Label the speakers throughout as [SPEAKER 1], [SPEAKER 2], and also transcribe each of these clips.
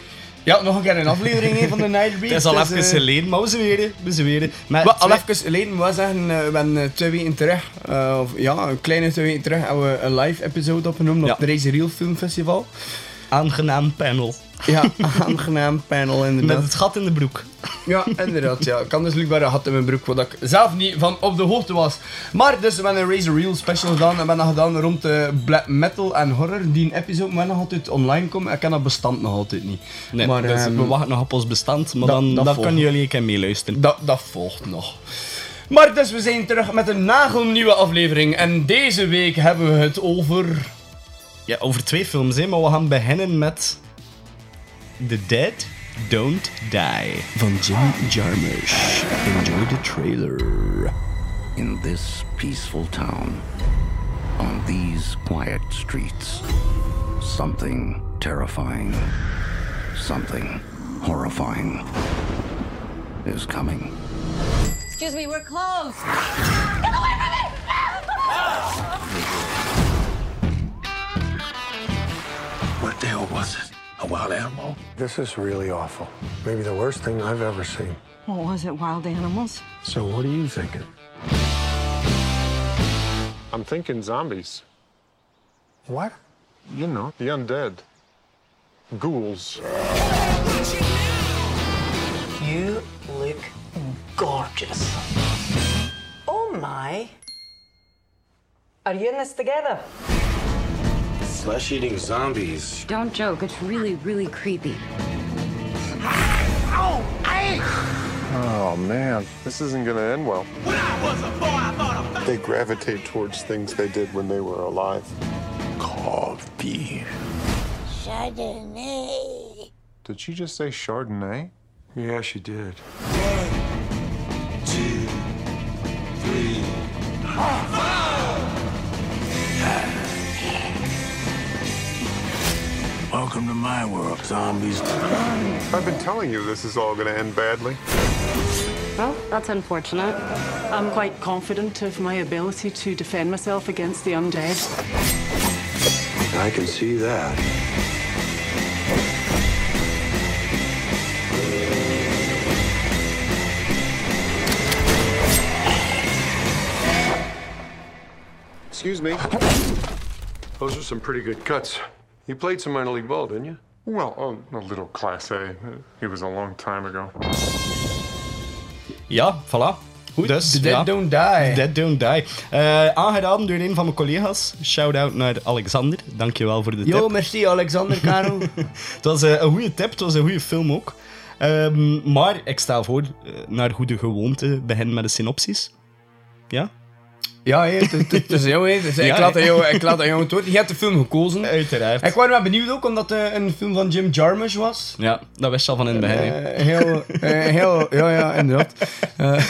[SPEAKER 1] Ja, nog een keer een aflevering hè, van de Nightbreed.
[SPEAKER 2] Het is al
[SPEAKER 1] Dus,
[SPEAKER 2] even
[SPEAKER 1] eh,
[SPEAKER 2] geleden, maar we zweren, we zweren. Met
[SPEAKER 1] Wat, al
[SPEAKER 2] twee-
[SPEAKER 1] even geleden, we zeggen, eh, we hebben eh, twee weken terug, eh, of ja, een kleine twee weken terug, hebben we een live episode opgenomen
[SPEAKER 2] Ja.
[SPEAKER 1] op het Race Real Film Festival.
[SPEAKER 2] aangenaam panel.
[SPEAKER 1] Ja, aangenaam panel inderdaad.
[SPEAKER 2] Met het gat in de broek.
[SPEAKER 1] Ja, inderdaad. Ja. Ik kan dus blijkbaar een gat in mijn broek, wat ik zelf niet van op de hoogte was. Maar dus, we hebben een Razor Reel special gedaan en we hebben dat gedaan rond eh, black metal en horror. Die een episode moet nog altijd online komen. Ik ken dat bestand nog altijd niet.
[SPEAKER 2] Nee,
[SPEAKER 1] maar
[SPEAKER 2] dus
[SPEAKER 1] ehm,
[SPEAKER 2] we wachten nog op ons bestand, maar
[SPEAKER 1] dat- dat
[SPEAKER 2] dan, dan
[SPEAKER 1] volgen.
[SPEAKER 2] kunnen jullie een keer meeluisteren.
[SPEAKER 1] dat, dat volgt nog. Maar dus, we zijn terug met een nagelnieuwe aflevering. En deze week hebben we het over...
[SPEAKER 2] Ja, over twee films, hè, maar we gaan beginnen met... The Dead Don't Die. Van Jim Jarmusch. Enjoy the trailer.
[SPEAKER 3] in this peaceful town, on these quiet streets, something terrifying, something horrifying is coming.
[SPEAKER 4] Excuse me, we're closed!
[SPEAKER 3] What the hell was it? A wild animal?
[SPEAKER 5] This is really awful. Maybe the worst thing I've ever seen.
[SPEAKER 4] What was it, wild animals?
[SPEAKER 5] So, what are you thinking?
[SPEAKER 6] I'm thinking zombies.
[SPEAKER 5] What?
[SPEAKER 6] You know, the undead. Ghouls.
[SPEAKER 7] You look gorgeous. Oh my. Are you in this together?
[SPEAKER 4] Don't joke, it's really, really creepy.
[SPEAKER 6] Oh man, this isn't gonna end well. They gravitate towards things they did when they were alive. Called B.
[SPEAKER 8] Chardonnay.
[SPEAKER 6] Did she just say Chardonnay?
[SPEAKER 5] Yeah, she did.
[SPEAKER 3] Welcome to my world, zombies.
[SPEAKER 6] I've been telling you this is all gonna end badly.
[SPEAKER 4] Well, that's unfortunate.
[SPEAKER 7] I'm quite confident of my ability to defend myself against the undead.
[SPEAKER 5] I can see that.
[SPEAKER 6] Excuse me.
[SPEAKER 5] Those are some pretty good cuts. You played some minor league ball, didn't you?
[SPEAKER 6] Well, um, a little class A. It was a long time ago.
[SPEAKER 2] Ja, voilà. Goed, dus,
[SPEAKER 1] The Dead
[SPEAKER 2] ja.
[SPEAKER 1] Don't Die.
[SPEAKER 2] Dead Don't Die. Eh, aangeraden door een van mijn collega's. Shout-out naar Alexander. Dankjewel voor de
[SPEAKER 1] Yo,
[SPEAKER 2] tip.
[SPEAKER 1] Oh, merci Alexander Karel.
[SPEAKER 2] Het was eh, een goede tip, het was een goede film ook. Ehm, maar ik stel voor, eh, naar goede gewoonte, begin met de synopsis. Ja?
[SPEAKER 1] ja, hé, het- het het is jou, hé. Dus
[SPEAKER 2] Ja,
[SPEAKER 1] ik, laat
[SPEAKER 2] hé.
[SPEAKER 1] aan jou, ik laat aan jou het woord. Je hebt de film gekozen.
[SPEAKER 2] Uiteraard.
[SPEAKER 1] Ik was wel benieuwd ook, omdat het een film van Jim Jarmusch was.
[SPEAKER 2] Ja, dat wist je al van in het begin. hè.
[SPEAKER 1] Eh, heel, eh, heel, ja, ja, inderdaad. Eh.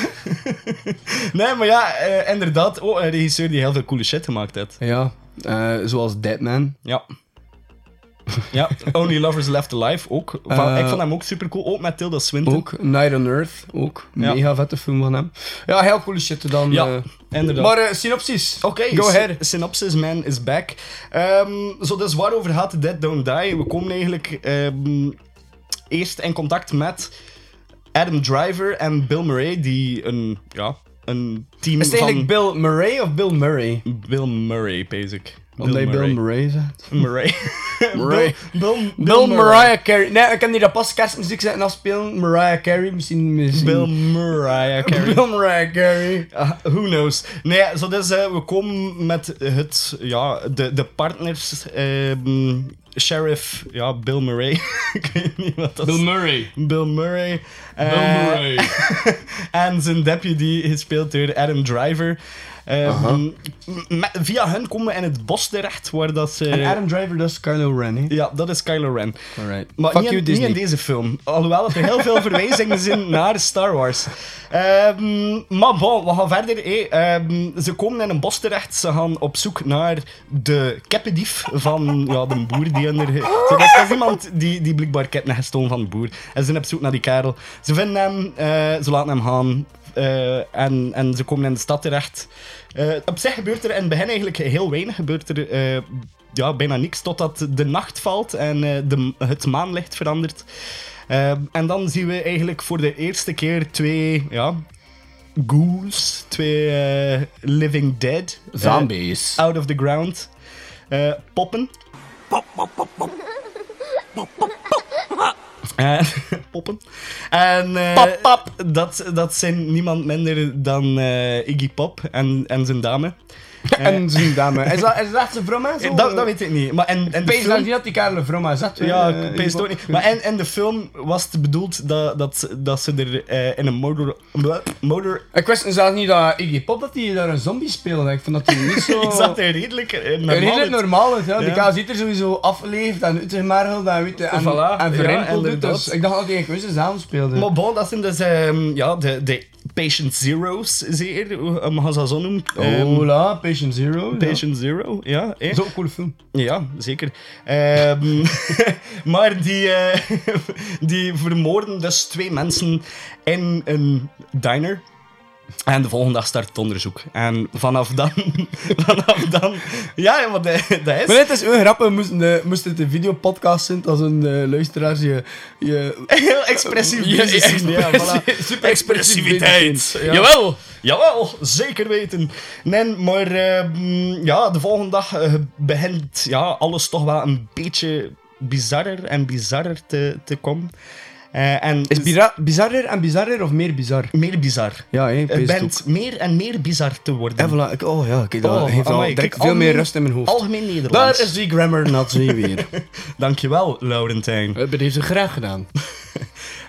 [SPEAKER 2] Nee, maar ja, eh, inderdaad. Oh, een regisseur die heel veel coole shit gemaakt heeft.
[SPEAKER 1] Ja, eh, zoals Deadman.
[SPEAKER 2] Ja. ja, Only Lovers Left Alive ook. Van-
[SPEAKER 1] Eh,
[SPEAKER 2] ik vond hem ook super cool. Ook met Tilda Swinton.
[SPEAKER 1] Ook Night on Earth, ook.
[SPEAKER 2] Ja.
[SPEAKER 1] Mega vette film van hem. Ja, heel coole shit dan.
[SPEAKER 2] Ja,
[SPEAKER 1] eh.
[SPEAKER 2] inderdaad.
[SPEAKER 1] Maar eh, synopsis.
[SPEAKER 2] Oké,
[SPEAKER 1] Go
[SPEAKER 2] sy-
[SPEAKER 1] ahead.
[SPEAKER 2] Synopsis Man is back. Ehm, zo, dus waarover gaat The Dead Don't Die? We komen eigenlijk ehm, eerst in contact met Adam Driver en Bill Murray, die een, ja, een team
[SPEAKER 1] Is het
[SPEAKER 2] van
[SPEAKER 1] eigenlijk Bill Murray of Bill Murray?
[SPEAKER 2] Bill Murray, basic.
[SPEAKER 1] Omdat je Bill Murray zegt.
[SPEAKER 2] Murray.
[SPEAKER 1] Murray.
[SPEAKER 2] Bill, Bill, Bill
[SPEAKER 1] Bill
[SPEAKER 2] Murray.
[SPEAKER 1] Mariah Carey. Nee, ik kan die dat pas kerstmuziek zetten afspelen. Mariah Carey, misschien. misschien.
[SPEAKER 2] Bill Murray. Carey.
[SPEAKER 1] Bill Mariah Carey.
[SPEAKER 2] Ah, who knows? Nee, zo dus, eh, we komen met het, ja, de, de partners, ehm, sheriff, ja, Bill Murray. Ik weet niet wat dat is.
[SPEAKER 1] Murray.
[SPEAKER 2] Bill Murray. eh, en zijn deputy, gespeeld door Adam Driver. Ehm, me- via hen komen we in het bos terecht, waar dat ze...
[SPEAKER 1] En Adam Driver, dat is Kylo Ren, hè?
[SPEAKER 2] Ja, dat is Kylo Ren.
[SPEAKER 1] Alright.
[SPEAKER 2] Maar
[SPEAKER 1] Fuck
[SPEAKER 2] niet,
[SPEAKER 1] you,
[SPEAKER 2] in- niet
[SPEAKER 1] Disney.
[SPEAKER 2] in deze film. Alhoewel dat er heel veel verwijzingen zijn naar Star Wars. Ehm, maar bon, we gaan verder. hé. Ehm, ze komen in een bos terecht. Ze gaan op zoek naar de keppendief van ja, de boer die onder... Zo, dat, is, dat is iemand die, die blijkbaar ketten heeft gestolen van de boer. En ze zijn op zoek naar die kerel. Ze vinden hem, eh, ze laten hem gaan. Eh, en, en ze komen in de stad terecht. Eh, op zich gebeurt er in het begin eigenlijk heel weinig. Gebeurt er eh, ja, bijna niks totdat de nacht valt en eh, de, het maanlicht verandert. Eh, en dan zien we eigenlijk voor de eerste keer twee ja, ghouls, twee eh, living dead. eh,
[SPEAKER 1] Zombies.
[SPEAKER 2] out of the ground. eh, poppen. Eh, poppen. En eh, Dat, dat zijn niemand minder dan eh, Iggy Pop en, en zijn dame.
[SPEAKER 1] En zijn dame. Is dat, is dat zijn vrouw, hè?
[SPEAKER 2] Eh, dat, dat weet ik niet. Maar en, en de
[SPEAKER 1] Pees
[SPEAKER 2] film-
[SPEAKER 1] dat niet dat die kerel een vrouw is, dat eh,
[SPEAKER 2] Ja,
[SPEAKER 1] eh,
[SPEAKER 2] ik pees het ook niet. Maar en, en de film was het bedoeld dat, dat, ze- dat ze er eh, in een motor... motor
[SPEAKER 1] Ik wist zelfs niet dat Iggy Pop dat die daar een zombie speelde. Ik vond dat hij niet zo...
[SPEAKER 2] ik zat er redelijk eh, normaal
[SPEAKER 1] Oh. Redelijk
[SPEAKER 2] uit.
[SPEAKER 1] normaal is, ja. Die
[SPEAKER 2] Ja.
[SPEAKER 1] kaas ziet er sowieso afleefd en uitgemergeld en, weet je, en,
[SPEAKER 2] Voilà.
[SPEAKER 1] en verrimpeld.
[SPEAKER 2] Ja,
[SPEAKER 1] doet, dus
[SPEAKER 2] inderdaad.
[SPEAKER 1] ik dacht dat hij een gewisse zaal speelde.
[SPEAKER 2] Maar bon, dat zijn dus ehm, ja, de, de Patient Zero's, zeer. Hoe um, gaan ze dat zo noemen?
[SPEAKER 1] Oh,
[SPEAKER 2] Ehm,
[SPEAKER 1] Hola, Eh, Patient Zero.
[SPEAKER 2] Patient Zero, ja. eh.
[SPEAKER 1] Ja. Zo'n coole film.
[SPEAKER 2] Ja, zeker. Ehm, maar die, eh, die vermoorden dus twee mensen in een diner. En de volgende dag start het onderzoek. En vanaf dan... vanaf dan... Ja, want dat, dat is...
[SPEAKER 1] Maar dit is een grap, moest, de, moest dit een videopodcast zijn, als een eh, luisteraar je... je
[SPEAKER 2] Heel expressief.
[SPEAKER 1] Je
[SPEAKER 2] bezig zijn, ja,
[SPEAKER 1] expressie-
[SPEAKER 2] voilà.
[SPEAKER 1] super
[SPEAKER 2] Expressiviteit.
[SPEAKER 1] expressief. Ja.
[SPEAKER 2] Jawel. Jawel, zeker weten. Nee, maar ehm, ja, de volgende dag eh, begint ja, alles toch wel een beetje bizarrer en bizarrer te, te komen. Eh, en
[SPEAKER 1] Is bira- bizarrer en bizarrer of meer bizar?
[SPEAKER 2] meer bizar.
[SPEAKER 1] Ja, hè,
[SPEAKER 2] Het
[SPEAKER 1] pees het
[SPEAKER 2] bent meer en meer bizar te worden.
[SPEAKER 1] En voilà, ik- oh ja, kijk, dat
[SPEAKER 2] Oh,
[SPEAKER 1] geeft al
[SPEAKER 2] amai,
[SPEAKER 1] direct
[SPEAKER 2] kijk,
[SPEAKER 1] veel meer
[SPEAKER 2] algemeen-
[SPEAKER 1] rust in mijn hoofd.
[SPEAKER 2] Algemeen Nederlands.
[SPEAKER 1] Daar is die grammar nazi weer. We
[SPEAKER 2] Dankjewel, Laurentijn.
[SPEAKER 1] hebben deze graag gedaan.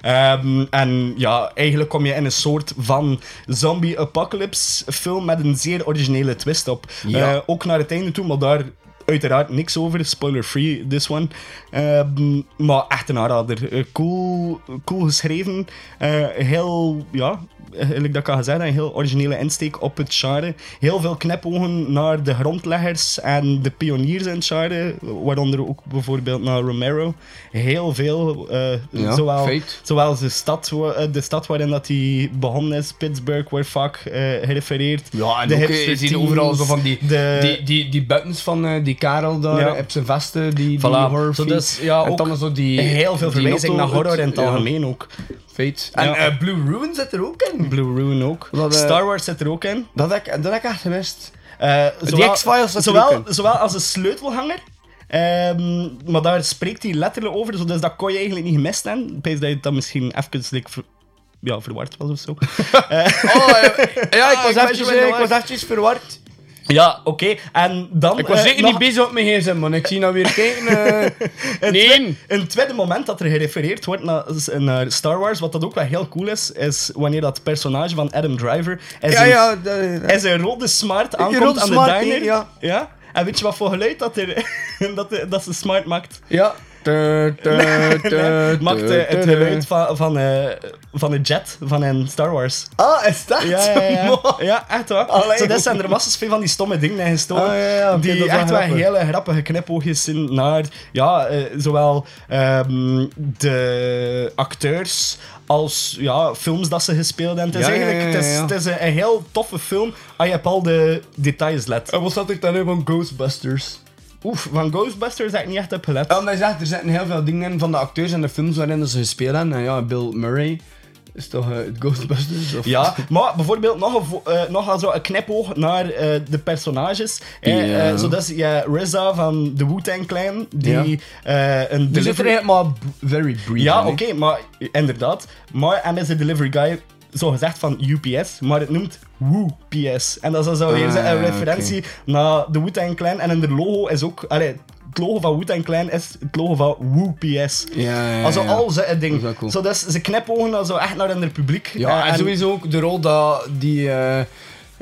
[SPEAKER 2] Ehm, en ja, eigenlijk kom je in een soort van zombie-apocalypse-film met een zeer originele twist op.
[SPEAKER 1] Ja.
[SPEAKER 2] Eh, ook naar het einde toe, maar daar uiteraard niks over. Spoiler-free, this one. Ehm, maar echt een aanrader. Eh, cool, cool geschreven. Eh, heel, ja, eigenlijk dat ik al gezegd heb, een heel originele insteek op het genre. Heel veel knipogen naar de grondleggers en de pioniers in het genre, waaronder ook bijvoorbeeld naar Romero. Heel veel, eh,
[SPEAKER 1] Ja,
[SPEAKER 2] zowel,
[SPEAKER 1] feit.
[SPEAKER 2] zowel de, stad, wa- eh, de stad waarin dat hij begonnen is, Pittsburgh, wordt vaak eh, gerefereerd.
[SPEAKER 1] Ja, en
[SPEAKER 2] de
[SPEAKER 1] ook, eh,
[SPEAKER 2] hipster
[SPEAKER 1] je ziet
[SPEAKER 2] teens,
[SPEAKER 1] overal zo van die,
[SPEAKER 2] de-
[SPEAKER 1] die, die, die buttons van eh, die Karel daar
[SPEAKER 2] Ja.
[SPEAKER 1] op zijn vesten, die, die
[SPEAKER 2] Voilà.
[SPEAKER 1] horror
[SPEAKER 2] Zo,
[SPEAKER 1] feet.
[SPEAKER 2] dus, ja,
[SPEAKER 1] en
[SPEAKER 2] ook
[SPEAKER 1] dan zo die...
[SPEAKER 2] Heel veel
[SPEAKER 1] die
[SPEAKER 2] verwijzing naar
[SPEAKER 1] notto-
[SPEAKER 2] horror in het
[SPEAKER 1] ja,
[SPEAKER 2] algemeen ook.
[SPEAKER 1] feit. En
[SPEAKER 2] Ja.
[SPEAKER 1] eh, Blue Ruin zit er ook in.
[SPEAKER 2] Blue Ruin ook.
[SPEAKER 1] Dat, eh,
[SPEAKER 2] Star Wars zit er ook in.
[SPEAKER 1] Dat heb ik, dat heb ik echt gemist.
[SPEAKER 2] Eh,
[SPEAKER 1] X-Files zat er
[SPEAKER 2] zowel,
[SPEAKER 1] ook in.
[SPEAKER 2] zowel als een sleutelhanger. ehm, maar daar spreekt hij letterlijk over, zo, dus dat kon je eigenlijk niet gemist hebben. Ik Pees dat je dat misschien even like, ver- ja, verward was of zo.
[SPEAKER 1] Oh, eh, ja, ik was
[SPEAKER 2] ben
[SPEAKER 1] eventjes,
[SPEAKER 2] zo in de
[SPEAKER 1] eh, ik
[SPEAKER 2] war.
[SPEAKER 1] was eventjes verward.
[SPEAKER 2] ja, oké. En dan...
[SPEAKER 1] Ik was
[SPEAKER 2] eh,
[SPEAKER 1] zeker
[SPEAKER 2] nog-
[SPEAKER 1] niet bezig op mijn gsm, man. Ik zie nou weer kijken. eh. nee.
[SPEAKER 2] Een tweede moment dat er gerefereerd wordt naar, naar Star Wars, wat dat ook wel heel cool is, is wanneer dat personage van Adam Driver en
[SPEAKER 1] Ja,
[SPEAKER 2] zijn,
[SPEAKER 1] ja. dat-
[SPEAKER 2] en zijn rode smart aankomt
[SPEAKER 1] rode
[SPEAKER 2] aan de
[SPEAKER 1] smart,
[SPEAKER 2] diner.
[SPEAKER 1] hè, ja.
[SPEAKER 2] En weet je wat voor geluid dat, er, dat, er- dat ze smart maakt?
[SPEAKER 1] Ja. Te, te, te,
[SPEAKER 2] maakt
[SPEAKER 1] te,
[SPEAKER 2] eh, het
[SPEAKER 1] te, te.
[SPEAKER 2] geluid van, van, eh, van een jet van een Star Wars.
[SPEAKER 1] Ah, is dat?
[SPEAKER 2] Ja, ja, ja. ja echt waar.
[SPEAKER 1] Allee.
[SPEAKER 2] Zo, dat zijn er massas veel van die stomme dingen in gestoken.
[SPEAKER 1] Ah, ja, ja, oké, dat
[SPEAKER 2] die
[SPEAKER 1] is wel
[SPEAKER 2] echt wel
[SPEAKER 1] grappig.
[SPEAKER 2] hele grappige knipoogjes zijn naar ja, eh, zowel ehm, de acteurs als ja, films dat ze gespeeld hebben. Het is
[SPEAKER 1] Ja, ja,
[SPEAKER 2] eigenlijk
[SPEAKER 1] ja,
[SPEAKER 2] Het is,
[SPEAKER 1] ja.
[SPEAKER 2] het is een, een heel toffe film als je op al de details let.
[SPEAKER 1] En wat zat ik dan nu van Ghostbusters?
[SPEAKER 2] Oef, van Ghostbusters heb ik niet echt op gelet.
[SPEAKER 1] Ja, omdat je zegt, er zitten heel veel dingen in van de acteurs en de films waarin dat ze gespeeld hebben. En ja, Bill Murray is toch eh, het Ghostbusters? Of... Dus
[SPEAKER 2] Ja, maar bijvoorbeeld nog een, vo- eh, nog een, zo een knipoog naar eh, de personages. Eh,
[SPEAKER 1] Ja.
[SPEAKER 2] eh, zodat ze, ja, Rizza van de Wu-Tang Clan, die eh, een
[SPEAKER 1] Die zit er
[SPEAKER 2] delivery...
[SPEAKER 1] eigenlijk maar b- very brief
[SPEAKER 2] Ja,
[SPEAKER 1] in, hè.
[SPEAKER 2] oké, maar inderdaad. Maar hem is de delivery guy, zo gezegd van UPS, maar het noemt Wu-PS. En dat is dan zo weer
[SPEAKER 1] Ah,
[SPEAKER 2] een
[SPEAKER 1] oké.
[SPEAKER 2] referentie naar de Wu-Tang Clan. En in de logo is ook... Allee, het logo van Wu-Tang Clan is het logo van Wu-PS.
[SPEAKER 1] Ja, ja, ja,
[SPEAKER 2] Also,
[SPEAKER 1] ja.
[SPEAKER 2] al zijn
[SPEAKER 1] Dat is
[SPEAKER 2] dingen.
[SPEAKER 1] wel cool.
[SPEAKER 2] Zo, dus ze knipogen dan zo echt naar hun publiek.
[SPEAKER 1] Ja,
[SPEAKER 2] Eh,
[SPEAKER 1] en, sowieso ook de rol dat die... eh,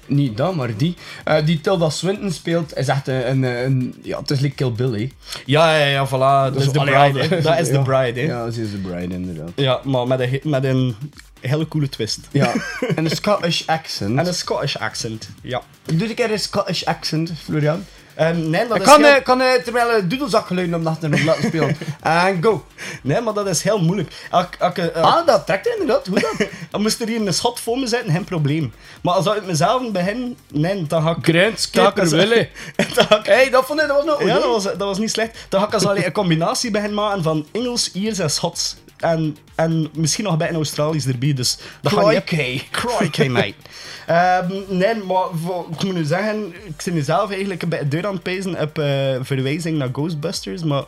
[SPEAKER 1] niet dat, maar die. Eh, die Tilda Swinton speelt, is echt een... een, een- ja, het is like Kill Bill, hè.
[SPEAKER 2] Ja, ja, ja, voilà. Dat is
[SPEAKER 1] Zo,
[SPEAKER 2] de
[SPEAKER 1] allee,
[SPEAKER 2] bride.
[SPEAKER 1] ja,
[SPEAKER 2] hè. Dat is de
[SPEAKER 1] ja.
[SPEAKER 2] bride, hè. Ja,
[SPEAKER 1] Ja, ze is de bride, inderdaad.
[SPEAKER 2] maar met een, met een hele coole twist.
[SPEAKER 1] Ja, en een Scottish accent.
[SPEAKER 2] En een Scottish accent. Ja.
[SPEAKER 1] Doe ik keer een Scottish accent, Florian?
[SPEAKER 2] Ehm, nee, dat
[SPEAKER 1] Ik
[SPEAKER 2] is
[SPEAKER 1] kan,
[SPEAKER 2] heel-
[SPEAKER 1] eh, kan eh, terwijl een doedelzak geluiden om de achtergrond laten spelen. En go.
[SPEAKER 2] nee, maar dat is heel moeilijk. Ak, ak, eh, eh,
[SPEAKER 1] Ah, dat trekt inderdaad. Hoe dat?
[SPEAKER 2] dan moest er hier een schot voor me zitten, geen probleem. Maar als dat uit mezelf begin, nee, dan ga ik... dan ga ik- Dan ga ik-
[SPEAKER 1] Hé, hey, dat vond ik, dat was nog
[SPEAKER 2] Ja, dat was, dat was niet slecht. Dan ga ik als alleen een combinatie beginnen maken van Engels, Iers en Schots. En, en misschien nog bij een Australisch erbij, dus... dat ga je-
[SPEAKER 1] Crikey.
[SPEAKER 2] Crikey, mate. Ehm, nee, maar voor- ik moet nu zeggen, ik zit nu zelf eigenlijk een beetje deur aan het pezen op eh, verwijzing naar Ghostbusters, maar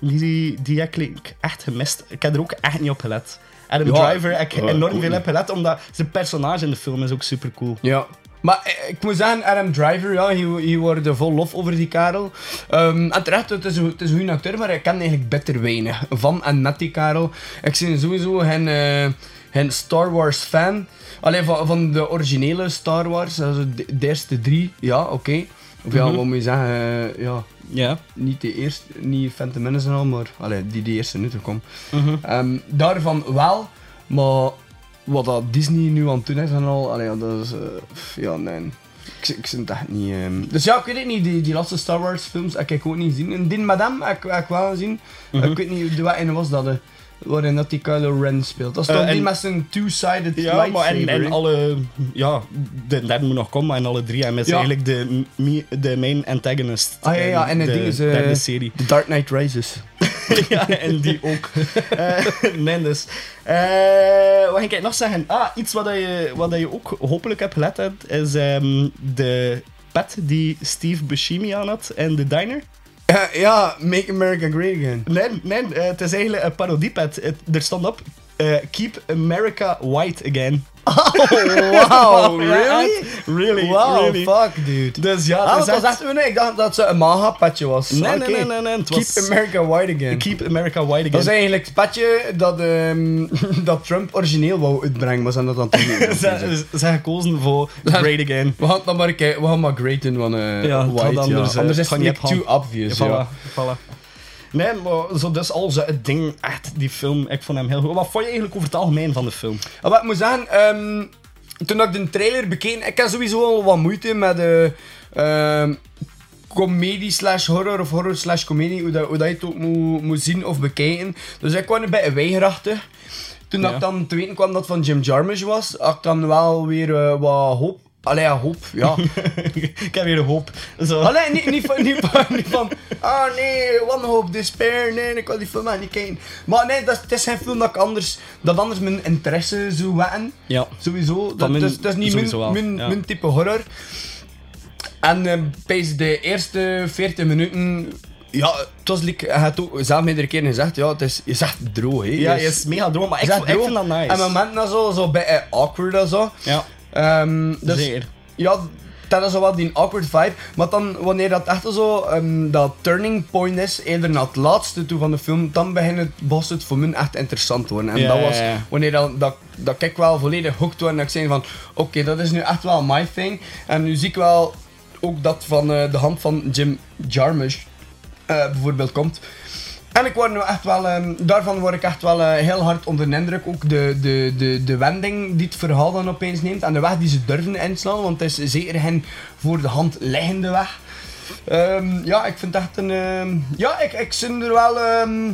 [SPEAKER 2] die, die heb ik echt gemist. Ik heb er ook echt niet op gelet. Adam
[SPEAKER 1] Ja,
[SPEAKER 2] Driver heb ik
[SPEAKER 1] eh,
[SPEAKER 2] enorm
[SPEAKER 1] ook
[SPEAKER 2] veel
[SPEAKER 1] niet.
[SPEAKER 2] op gelet, omdat zijn personage in de film is ook super cool.
[SPEAKER 1] Ja. Maar eh, ik moet zeggen, RM Driver, ja, hier, hier worden vol lof over die karel. Ehm, en terecht, het is, een- het is een goede acteur, maar ik ken eigenlijk bitter weinig van en met die karel. Ik ben sowieso geen, eh, geen Star Wars fan. Alleen van, van de originele Star Wars, also de, de eerste drie, ja, oké. Of ja, wat moet je zeggen, eh, ja,
[SPEAKER 2] Ja.
[SPEAKER 1] niet de eerste, niet Phantom Menace en al, maar allee, die de eerste nu kwam.
[SPEAKER 2] Mhm.
[SPEAKER 1] Ehm, daarvan wel, maar wat dat Disney nu aan het doen is en al, allee, ja, dat is, eh, pff, ja, nee. Ik, ik vind dat echt niet... ehm. Dus ja, ik weet het niet, die, die laatste Star Wars films heb ik ook niet gezien. En Din Madame heb ik, heb ik wel gezien.
[SPEAKER 2] Mhm.
[SPEAKER 1] Ik weet niet, de wat in was dat, eh, waarin dat die Kylo Ren speelt. Dat is
[SPEAKER 2] Eh,
[SPEAKER 1] toch die
[SPEAKER 2] en-
[SPEAKER 1] met zijn two-sided
[SPEAKER 2] Ja, maar en,
[SPEAKER 1] lightsaber,
[SPEAKER 2] en
[SPEAKER 1] hè?
[SPEAKER 2] alle... Ja, de derde moet nog komen, en alle drie. En is
[SPEAKER 1] Ja.
[SPEAKER 2] eigenlijk de, mi- de main antagonist.
[SPEAKER 1] Ah ja, ja,
[SPEAKER 2] in
[SPEAKER 1] en het
[SPEAKER 2] de
[SPEAKER 1] ding is... eh,
[SPEAKER 2] derde serie.
[SPEAKER 1] The Dark Knight Rises.
[SPEAKER 2] ja, en die ook. Eh, nee, dus. Eh, wat ging ik nog zeggen? Ah, iets wat, dat je, wat dat je ook hopelijk hebt gelet hebt, is ehm, de pet die Steve Buscemi aan had in de diner.
[SPEAKER 1] Ja, ja, Make America Great Again.
[SPEAKER 2] Nee, nee eh, het is eigenlijk een parodiepet. Het- Er stond op, eh, keep America white again.
[SPEAKER 1] Ah. Wow,
[SPEAKER 2] Ja,
[SPEAKER 1] really?
[SPEAKER 2] echt. Really,
[SPEAKER 1] Wow,
[SPEAKER 2] really.
[SPEAKER 1] fuck, dude.
[SPEAKER 2] Dus ja,
[SPEAKER 1] Ah,
[SPEAKER 2] dat
[SPEAKER 1] want
[SPEAKER 2] is
[SPEAKER 1] dat
[SPEAKER 2] echt-
[SPEAKER 1] dachten we nee, ik dacht dat ze een maha-patje was. Ah,
[SPEAKER 2] Nee,
[SPEAKER 1] Oké.
[SPEAKER 2] nee, nee, nee, nee, het
[SPEAKER 1] Keep
[SPEAKER 2] was-
[SPEAKER 1] America white again.
[SPEAKER 2] Keep America white
[SPEAKER 1] Dat is
[SPEAKER 2] again.
[SPEAKER 1] eigenlijk het patje dat, ehm, dat Trump origineel wou uitbrengen, maar ze hebben dat dan toch niet gedaan.
[SPEAKER 2] Ze zijn gekozen voor great again.
[SPEAKER 1] We gaan het dan maar kijken, we gaan maar great in van
[SPEAKER 2] Ja, het
[SPEAKER 1] white,
[SPEAKER 2] had
[SPEAKER 1] ja.
[SPEAKER 2] anders, eh,
[SPEAKER 1] anders is
[SPEAKER 2] het
[SPEAKER 1] het
[SPEAKER 2] gaat
[SPEAKER 1] niet
[SPEAKER 2] niet
[SPEAKER 1] too obvious, ja.
[SPEAKER 2] voilà, voilà. Nee, maar zo dus al zo het ding, echt, die film, ik vond hem heel goed. Wat vond je eigenlijk over het algemeen van de film?
[SPEAKER 1] Ah, Maar wat ik moet zeggen, ehm, toen ik de trailer bekeek, ik heb sowieso al wat moeite met eh ehm, comedie slash horror of horror slash comedie, hoe, dat, hoe dat je het ook moet, moet zien of bekijken. Dus ik kwam een beetje weigerachtig. Toen dat
[SPEAKER 2] Ja.
[SPEAKER 1] ik dan te weten kwam dat het van Jim Jarmusch was, had ik dan wel weer eh, wat hoop. Allee, ja, hoop, ja.
[SPEAKER 2] ik heb weer hoop. Dus, Zo.
[SPEAKER 1] Allee, Oh, niet, niet, van, niet, van, niet van, ah nee, wanhoop, despair, nee, ik wil die film echt niet kijken. Maar nee, dat, het is geen film dat ik anders, dat anders mijn interesse zou wekken.
[SPEAKER 2] Ja.
[SPEAKER 1] Sowieso, dat,
[SPEAKER 2] Van mijn-
[SPEAKER 1] dat is, dat is niet
[SPEAKER 2] sowieso
[SPEAKER 1] mijn,
[SPEAKER 2] wel,
[SPEAKER 1] mijn,
[SPEAKER 2] ja.
[SPEAKER 1] mijn type horror. En eh, bij de eerste 40 minuten, ja, het was, like, hij had ook zelf meerdere keren gezegd, ja, het is, je zegt droog, hè.
[SPEAKER 2] Ja,
[SPEAKER 1] Je
[SPEAKER 2] is mega droom, maar ik,
[SPEAKER 1] je zegt
[SPEAKER 2] vond- ik
[SPEAKER 1] droog.
[SPEAKER 2] vind dat nice.
[SPEAKER 1] En momenten dat zo, zo bij eh, awkward en zo.
[SPEAKER 2] Ja.
[SPEAKER 1] Ehm, dus,
[SPEAKER 2] Zeer.
[SPEAKER 1] Ja, dat is zo wat die awkward vibe. Maar dan, wanneer dat echt zo, ehm, dat turning point is, eerder naar het laatste toe van de film, dan begint het, was het voor mij echt interessant te worden. En
[SPEAKER 2] Ja,
[SPEAKER 1] dat was
[SPEAKER 2] ja, ja.
[SPEAKER 1] wanneer dat, dat, dat ik wel volledig hooked word en dat ik zei van, oké, dat is nu echt wel my thing. En nu zie ik wel ook dat van eh, de hand van Jim Jarmusch eh, bijvoorbeeld komt. En ik word nu echt wel, ehm, daarvan word ik echt wel eh, heel hard onder de indruk. Ook de, de, de, de wending die het verhaal dan opeens neemt en de weg die ze durven inslaan, want het is zeker geen voor de hand liggende weg. Ehm, ja, ik vind het echt een. ehm, ja, ik, ik ben er wel. ehm,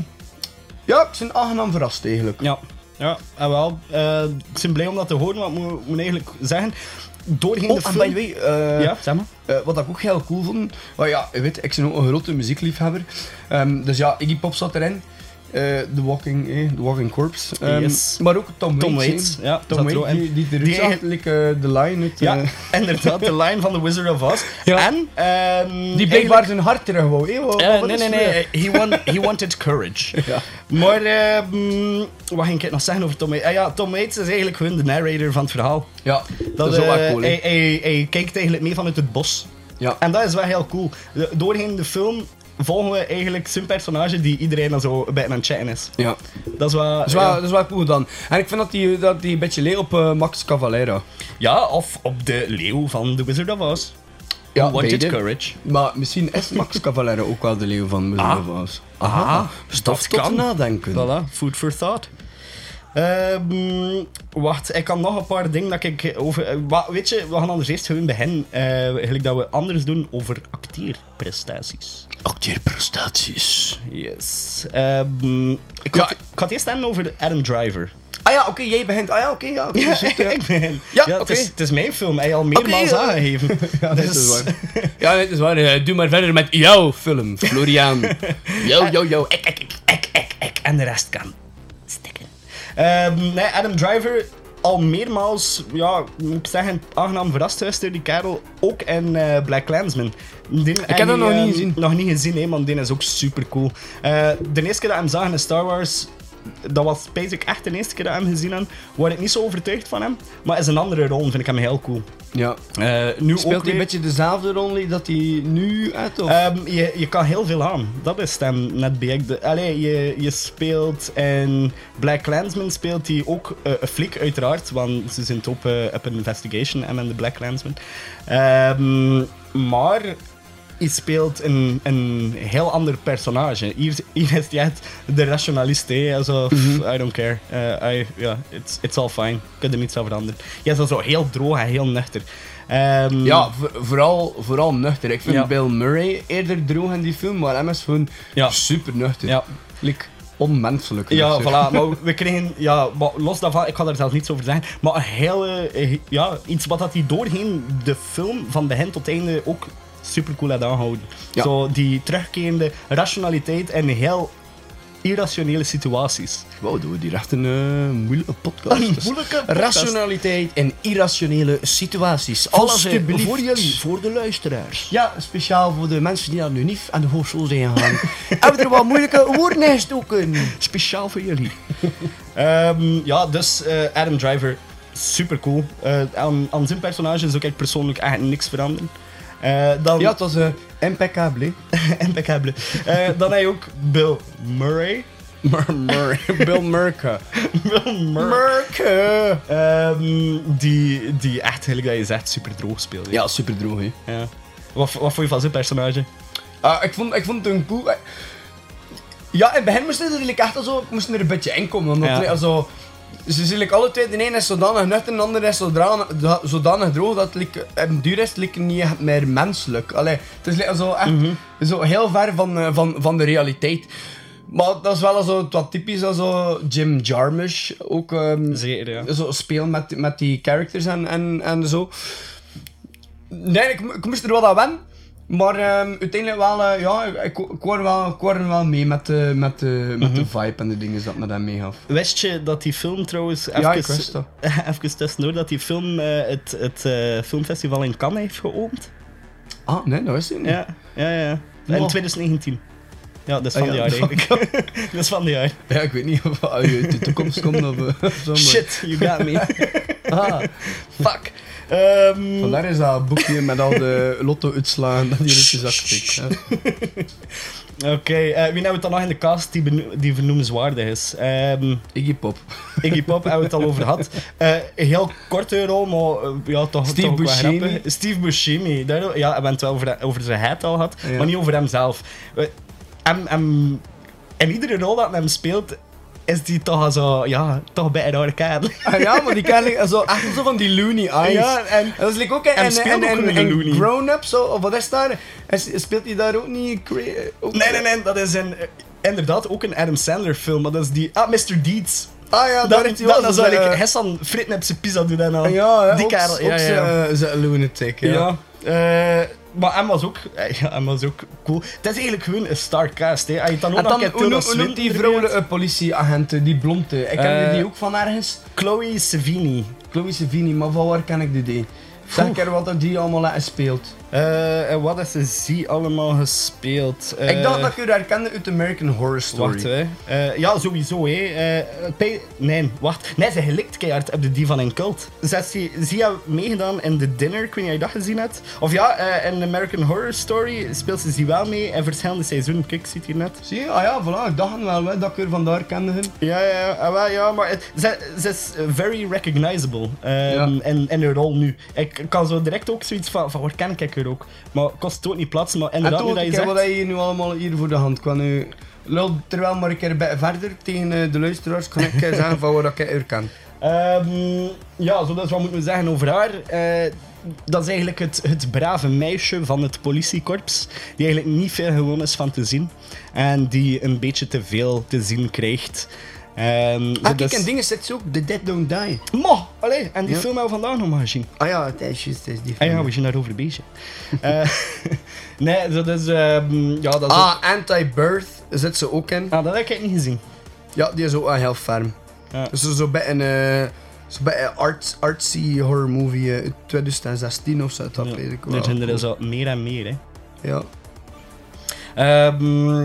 [SPEAKER 1] ja, ik ben aangenaam verrast eigenlijk.
[SPEAKER 2] Ja, ja en wel. eh, ik ben blij om dat te horen, want ik moet, moet eigenlijk zeggen, doorheen de
[SPEAKER 1] Oh, en
[SPEAKER 2] film...
[SPEAKER 1] by the way, eh,
[SPEAKER 2] ja, zeg maar.
[SPEAKER 1] eh, wat ik ook heel cool vond, maar ja, je weet, ik ben ook een grote muziekliefhebber. Ehm, dus ja, Iggy Pop zat erin. Eh, The, Walking, eh, The Walking Corpse. Ehm,
[SPEAKER 2] Yes.
[SPEAKER 1] Maar ook Tom,
[SPEAKER 2] Tom
[SPEAKER 1] Waits.
[SPEAKER 2] Waits,
[SPEAKER 1] hè.
[SPEAKER 2] ja,
[SPEAKER 1] Tom
[SPEAKER 2] zat er
[SPEAKER 1] Waits,
[SPEAKER 2] ook
[SPEAKER 1] die,
[SPEAKER 2] in.
[SPEAKER 1] die eruit
[SPEAKER 2] Die
[SPEAKER 1] zag,
[SPEAKER 2] eigen-
[SPEAKER 1] like, eh, The Lion. Het,
[SPEAKER 2] Ja,
[SPEAKER 1] eh,
[SPEAKER 2] inderdaad, de line van The Wizard of Oz.
[SPEAKER 1] Ja.
[SPEAKER 2] En... ehm,
[SPEAKER 1] die blijkbaar zijn hart terug wou. hè, wat-
[SPEAKER 2] Eh,
[SPEAKER 1] wat
[SPEAKER 2] nee,
[SPEAKER 1] is
[SPEAKER 2] nee,
[SPEAKER 1] er?
[SPEAKER 2] nee. He, want, he wanted courage.
[SPEAKER 1] Ja.
[SPEAKER 2] Maar, eh, mm, wat ging ik nog zeggen over Tom Waits? Ah ja, Tom Waits is eigenlijk gewoon de narrator van het verhaal.
[SPEAKER 1] Ja, dat, is
[SPEAKER 2] eh,
[SPEAKER 1] wel cool. hè.
[SPEAKER 2] hij, hij, hij kijkt eigenlijk mee vanuit het bos.
[SPEAKER 1] Ja.
[SPEAKER 2] En dat is wel heel cool. De- Doorheen de film volgen we eigenlijk zijn personage die iedereen dan zo bij aan het chatten is.
[SPEAKER 1] Ja.
[SPEAKER 2] Dat is wat...
[SPEAKER 1] Dat is wel,
[SPEAKER 2] ja.
[SPEAKER 1] dat is wel cool dan. En ik vind dat die, dat die een beetje leek op eh, Max Cavalera.
[SPEAKER 2] Ja, of op de leeuw van The Wizard of Oz.
[SPEAKER 1] Ja,
[SPEAKER 2] Who Wanted
[SPEAKER 1] beide.
[SPEAKER 2] Courage.
[SPEAKER 1] Maar misschien is Max Cavalera ook wel de leeuw van Wizard of Oz.
[SPEAKER 2] Ah,
[SPEAKER 1] Stof Dus tot nadenken.
[SPEAKER 2] Voilà, food for thought. Ehm, wacht, ik kan nog een paar dingen dat ik over... eh, wa- weet je, we gaan anders eerst gewoon beginnen. eh, eigenlijk dat we anders doen over acteerprestaties.
[SPEAKER 1] Acteerprestaties.
[SPEAKER 2] Yes. Ehm, ik, ga,
[SPEAKER 1] Ja.
[SPEAKER 2] ik ga het eerst hebben over Adam Driver.
[SPEAKER 1] Ah ja, oké, jij begint. Ah ja, oké, ja. oké,
[SPEAKER 2] Ja,
[SPEAKER 1] zit, ja.
[SPEAKER 2] ik ben...
[SPEAKER 1] Ja,
[SPEAKER 2] Ja, het,
[SPEAKER 1] oké.
[SPEAKER 2] is, het is mijn film. Hij al meermaals
[SPEAKER 1] ja.
[SPEAKER 2] aangegeven.
[SPEAKER 1] Ja,
[SPEAKER 2] dus...
[SPEAKER 1] dat is waar. Ja, nee, dat is waar. Eh, Doe maar verder met jouw film, Florian. Yo, yo, yo.
[SPEAKER 2] ik, ik, ik, ik, ik, ik. En de rest kan stikken. Ehm, nee, Adam Driver al meermaals, ja, moet ik zeggen, aangenaam verrast geweest door die kerel. Ook in eh, Black Clansman. ik
[SPEAKER 1] heb dat nog niet gezien.
[SPEAKER 2] ehm, Nog niet gezien, hè, man. Die is ook super cool. de eerste keer dat ik hem zag in Star Wars, dat was basic echt de eerste keer dat ik hem gezien heb. Word ik niet zo overtuigd van hem, maar is een andere rol, vind ik hem heel cool.
[SPEAKER 1] Ja.
[SPEAKER 2] Eh, nu
[SPEAKER 1] Speelt hij
[SPEAKER 2] ook weer-
[SPEAKER 1] een beetje dezelfde rol die- dat hij nu uit? Of?
[SPEAKER 2] Ehm, je, je kan heel veel aan. Dat is hem net bij. ik de- Allee, je, je speelt in Black Clansman speelt hij ook eh, een flik uiteraard, want ze zijn het op, eh, op een investigation en in de Black Clansman. Ehm, maar hij speelt een, een heel ander personage. Hier, hier is hij echt de rationalist, hè. Also, pff, I don't care. Eh, I, ja, it's, it's all fine. Ik kan er niets aan veranderen. Hij is dan zo heel droog en heel nuchter. Ehm,
[SPEAKER 1] Ja, voor- vooral, vooral nuchter. Ik vind
[SPEAKER 2] Ja.
[SPEAKER 1] Bill Murray eerder droog in die film, maar hem is gewoon
[SPEAKER 2] Ja.
[SPEAKER 1] super nuchter.
[SPEAKER 2] ja.
[SPEAKER 1] Like, onmenselijk.
[SPEAKER 2] Ja,
[SPEAKER 1] nuchter.
[SPEAKER 2] voilà. Maar we kregen, ja, maar los daarvan, ik ga daar zelf niets over zeggen. Maar een hele, eh, ja, iets wat dat hij doorheen de film van begin tot einde ook super cool had aangehouden.
[SPEAKER 1] Ja.
[SPEAKER 2] Zo die terugkerende rationaliteit en heel irrationele situaties.
[SPEAKER 1] Wauw, doen we die echt een eh, moeilijke podcast.
[SPEAKER 2] Een moeilijke podcast.
[SPEAKER 1] Rationaliteit en irrationele situaties. Alles eh,
[SPEAKER 2] Alsjeblieft.
[SPEAKER 1] voor jullie, voor de luisteraars. Ja, speciaal voor de mensen die naar de UNIF en de hogeschool zijn gegaan. Hebben we er wat moeilijke woorden in gestoken.
[SPEAKER 2] Speciaal voor jullie. Ehm, ja, dus eh, Adam Driver, super cool. aan, aan zijn personage zou ik persoonlijk eigenlijk niks veranderen. Eh, dan,
[SPEAKER 1] Ja, het was eh, impeccabele.
[SPEAKER 2] impeccabele. Eh, dan heb je ook Bill Murray.
[SPEAKER 1] Murray. Bill Murka.
[SPEAKER 2] Bill Murray.
[SPEAKER 1] Murka.
[SPEAKER 2] Ehm, die, die echt, gelijk dat je zegt, super droog speelde.
[SPEAKER 1] Ja, super droog, hè.
[SPEAKER 2] Ja. Wat, wat vond je van zijn personage?
[SPEAKER 1] Ah, ik, vond, ik vond het een cool. eh, Ja, in het begin moesten er eigenlijk echt al zo, moesten er een beetje in komen. Omdat
[SPEAKER 2] Ja.
[SPEAKER 1] er zo, ze zijn like alle twee, de ene is zodanig nuchter en de andere is zodanig, zodanig droog dat het like, en duur is het like niet echt meer menselijk. Allee, het is like zo echt zo heel ver van, eh, van, van de realiteit. Maar dat is wel zo, wat typisch als zo Jim Jarmusch ook ehm,
[SPEAKER 2] Zeker, ja.
[SPEAKER 1] zo speel met, met die characters en, en, en zo. Nee, ik, mo- ik moest er wel aan wennen. Maar ehm, uiteindelijk wel, eh, ja, ik, ik, ik hoor wel, ik hoor wel mee met, de met, de met
[SPEAKER 2] Mhm.
[SPEAKER 1] de vibe en de dingen dat me dat mee gaf.
[SPEAKER 2] Wist je dat die film trouwens...
[SPEAKER 1] Ja, ik wist dat.
[SPEAKER 2] Even tussendoor, dat die film eh, het, het eh, filmfestival in Cannes heeft geopend?
[SPEAKER 1] Ah, nee, dat wist ik niet.
[SPEAKER 2] Ja, ja, ja. In
[SPEAKER 1] Wow.
[SPEAKER 2] 2019. Ja, dat is van
[SPEAKER 1] Ah,
[SPEAKER 2] de
[SPEAKER 1] ja.
[SPEAKER 2] jaar eigenlijk. dat is van de jaar.
[SPEAKER 1] Ja, ik weet niet of uit de toekomst komt of, eh, of zo. maar-
[SPEAKER 2] Shit, you got me.
[SPEAKER 1] Ah, fuck.
[SPEAKER 2] Ehm,
[SPEAKER 1] Vandaar is dat boekje met al de lotto-uitslagen dat hier in je zak steekt. hè.
[SPEAKER 2] Oké, eh, wie hebben we het dan nog in de cast die, beno- die vernoemenswaardig is? Ehm,
[SPEAKER 1] Iggy Pop.
[SPEAKER 2] Iggy Pop hebben we het al over gehad. Eh, heel korte rol, maar eh, ja, toch,
[SPEAKER 1] Steve
[SPEAKER 2] toch ook wel
[SPEAKER 1] Buscemi.
[SPEAKER 2] grappig. Steve Buscemi. Daar, ja, we hebben het wel over, over zijn head al gehad,
[SPEAKER 1] Ja.
[SPEAKER 2] maar niet over hemzelf. Eh, hem, hem, in iedere rol dat hem speelt, is die toch al zo, ja, toch bij een rare kerel.
[SPEAKER 1] Ah, ja, maar die ken ik zo, echt zo van die loony eyes.
[SPEAKER 2] Ja, en-
[SPEAKER 1] dat is like ook in,
[SPEAKER 2] en
[SPEAKER 1] en
[SPEAKER 2] speelt ook een loony.
[SPEAKER 1] Grown Up, zo, of wat is daar? En s- Speelt hij daar ook niet? cra- ook-
[SPEAKER 2] Nee, nee, nee, dat is een, eh, inderdaad ook een Adam Sandler film, maar dat is die, ah, Mr. Deeds.
[SPEAKER 1] Ah ja,
[SPEAKER 2] Dat,
[SPEAKER 1] daar
[SPEAKER 2] dat,
[SPEAKER 1] heeft hij
[SPEAKER 2] dat,
[SPEAKER 1] wel
[SPEAKER 2] is eigenlijk
[SPEAKER 1] zijn, eh,
[SPEAKER 2] Hassan Fritten op zijn pizza doen en al.
[SPEAKER 1] Ja, ja,
[SPEAKER 2] die
[SPEAKER 1] ook-
[SPEAKER 2] kerel.
[SPEAKER 1] ook eh, zijn- zijn lunatic, ja.
[SPEAKER 2] Ja. eh, maar hem was, ook, eh, ja, hem was ook cool. Het is eigenlijk gewoon een starcast. Hè. Als je het dan ook
[SPEAKER 1] En
[SPEAKER 2] nog
[SPEAKER 1] dan,
[SPEAKER 2] een keer
[SPEAKER 1] hoe noemt-
[SPEAKER 2] Tilda
[SPEAKER 1] hoe noemt die
[SPEAKER 2] Swinton
[SPEAKER 1] vrouwelijke
[SPEAKER 2] erbij
[SPEAKER 1] eh, politieagent, die blonde? Ik ken
[SPEAKER 2] Eh,
[SPEAKER 1] die ook van ergens.
[SPEAKER 2] had. Chloe Sevigny.
[SPEAKER 1] Chloe Sevigny, maar van waar ken ik die? die? Zeg
[SPEAKER 2] Oeh.
[SPEAKER 1] er wat dat die allemaal eh, speelt.
[SPEAKER 2] Eh, en wat heeft ze allemaal gespeeld? Eh,
[SPEAKER 1] ik dacht dat ik u herkende uit American Horror Story.
[SPEAKER 2] Wacht, hè. Eh, ja, sowieso, hè. Eh, Pe- nee, wacht. Nee, ze gelikt keihard op de Divan en Cult. Ze heeft die- Zia meegedaan in The Dinner, ik weet niet of je dat gezien hebt. Of ja, eh, in American Horror Story speelt ze Zia wel mee in verschillende seizoenen. Kijk, zit hier net.
[SPEAKER 1] Zie je? Ah ja, voilà. Ik dacht wel hè, dat ik u vandaar kende. Hem.
[SPEAKER 2] Ja, ja, ja, ah, wel, ja maar het- ze, ze is eh, very recognizable ehm,
[SPEAKER 1] Ja.
[SPEAKER 2] in, in haar rol nu. Ik kan zo direct ook zoiets van, van waar ken ik haar ook? Maar kost het ook niet plaats, maar
[SPEAKER 1] En
[SPEAKER 2] inderdaad, nu
[SPEAKER 1] toen
[SPEAKER 2] dat je
[SPEAKER 1] ik wat
[SPEAKER 2] zegt...
[SPEAKER 1] hij hier nu allemaal hier voor de hand kwam. Nu, lul terwijl maar een keer bij- verder tegen eh, de luisteraars kan ik eh, zeggen van waar dat ik u ken.
[SPEAKER 2] Ehm, ja, zo dat is wat moeten we zeggen over haar. Eh, dat is eigenlijk het, het brave meisje van het politiekorps, die eigenlijk niet veel gewoon is van te zien. En die een beetje te veel te zien krijgt. Ehm, zo
[SPEAKER 1] Ah,
[SPEAKER 2] dus-
[SPEAKER 1] kijk, en dingen zit ze ook. The Dead Don't Die.
[SPEAKER 2] Mo, allee, en die
[SPEAKER 1] Ja.
[SPEAKER 2] film hebben we vandaag nog maar gezien.
[SPEAKER 1] Ah ja, het is juist. het is die
[SPEAKER 2] Ah ja,
[SPEAKER 1] film.
[SPEAKER 2] we zijn daarover bezig. Eh, nee, dat is... ehm, ja, dat is ook-
[SPEAKER 1] Ah, Anti-Birth zit ze ook in.
[SPEAKER 2] ah, dat heb ik niet gezien.
[SPEAKER 1] Ja, die is ook wel heel ferm.
[SPEAKER 2] Ja.
[SPEAKER 1] Dus zo bij een, eh, zo bij een arts, artsy horror movie eh, uit 2016 of zo. Dat
[SPEAKER 2] Ja,
[SPEAKER 1] weet ik wel.
[SPEAKER 2] er zijn er zo meer en meer, hè.
[SPEAKER 1] Ja.
[SPEAKER 2] Ehm,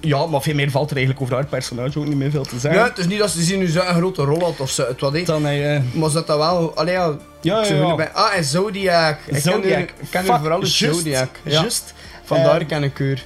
[SPEAKER 2] ja, maar veel meer valt er eigenlijk over haar personage ook niet meer veel te zeggen.
[SPEAKER 1] Ja, het is niet dat ze zien nu zo'n grote rol had of zo. Het wat, hè.
[SPEAKER 2] Dan hij... eh,
[SPEAKER 1] Maar ze dat wel... Allee, ja.
[SPEAKER 2] Ja,
[SPEAKER 1] ik zou
[SPEAKER 2] ja, ja.
[SPEAKER 1] willen bij- Ah, en Zodiac. Ik ken
[SPEAKER 2] Zodiac.
[SPEAKER 1] haar- Ik ken
[SPEAKER 2] Fuck,
[SPEAKER 1] haar vooral uit
[SPEAKER 2] juist,
[SPEAKER 1] Zodiac. Ja.
[SPEAKER 2] Juist.
[SPEAKER 1] Vandaar
[SPEAKER 2] Ehm,
[SPEAKER 1] ken ik haar.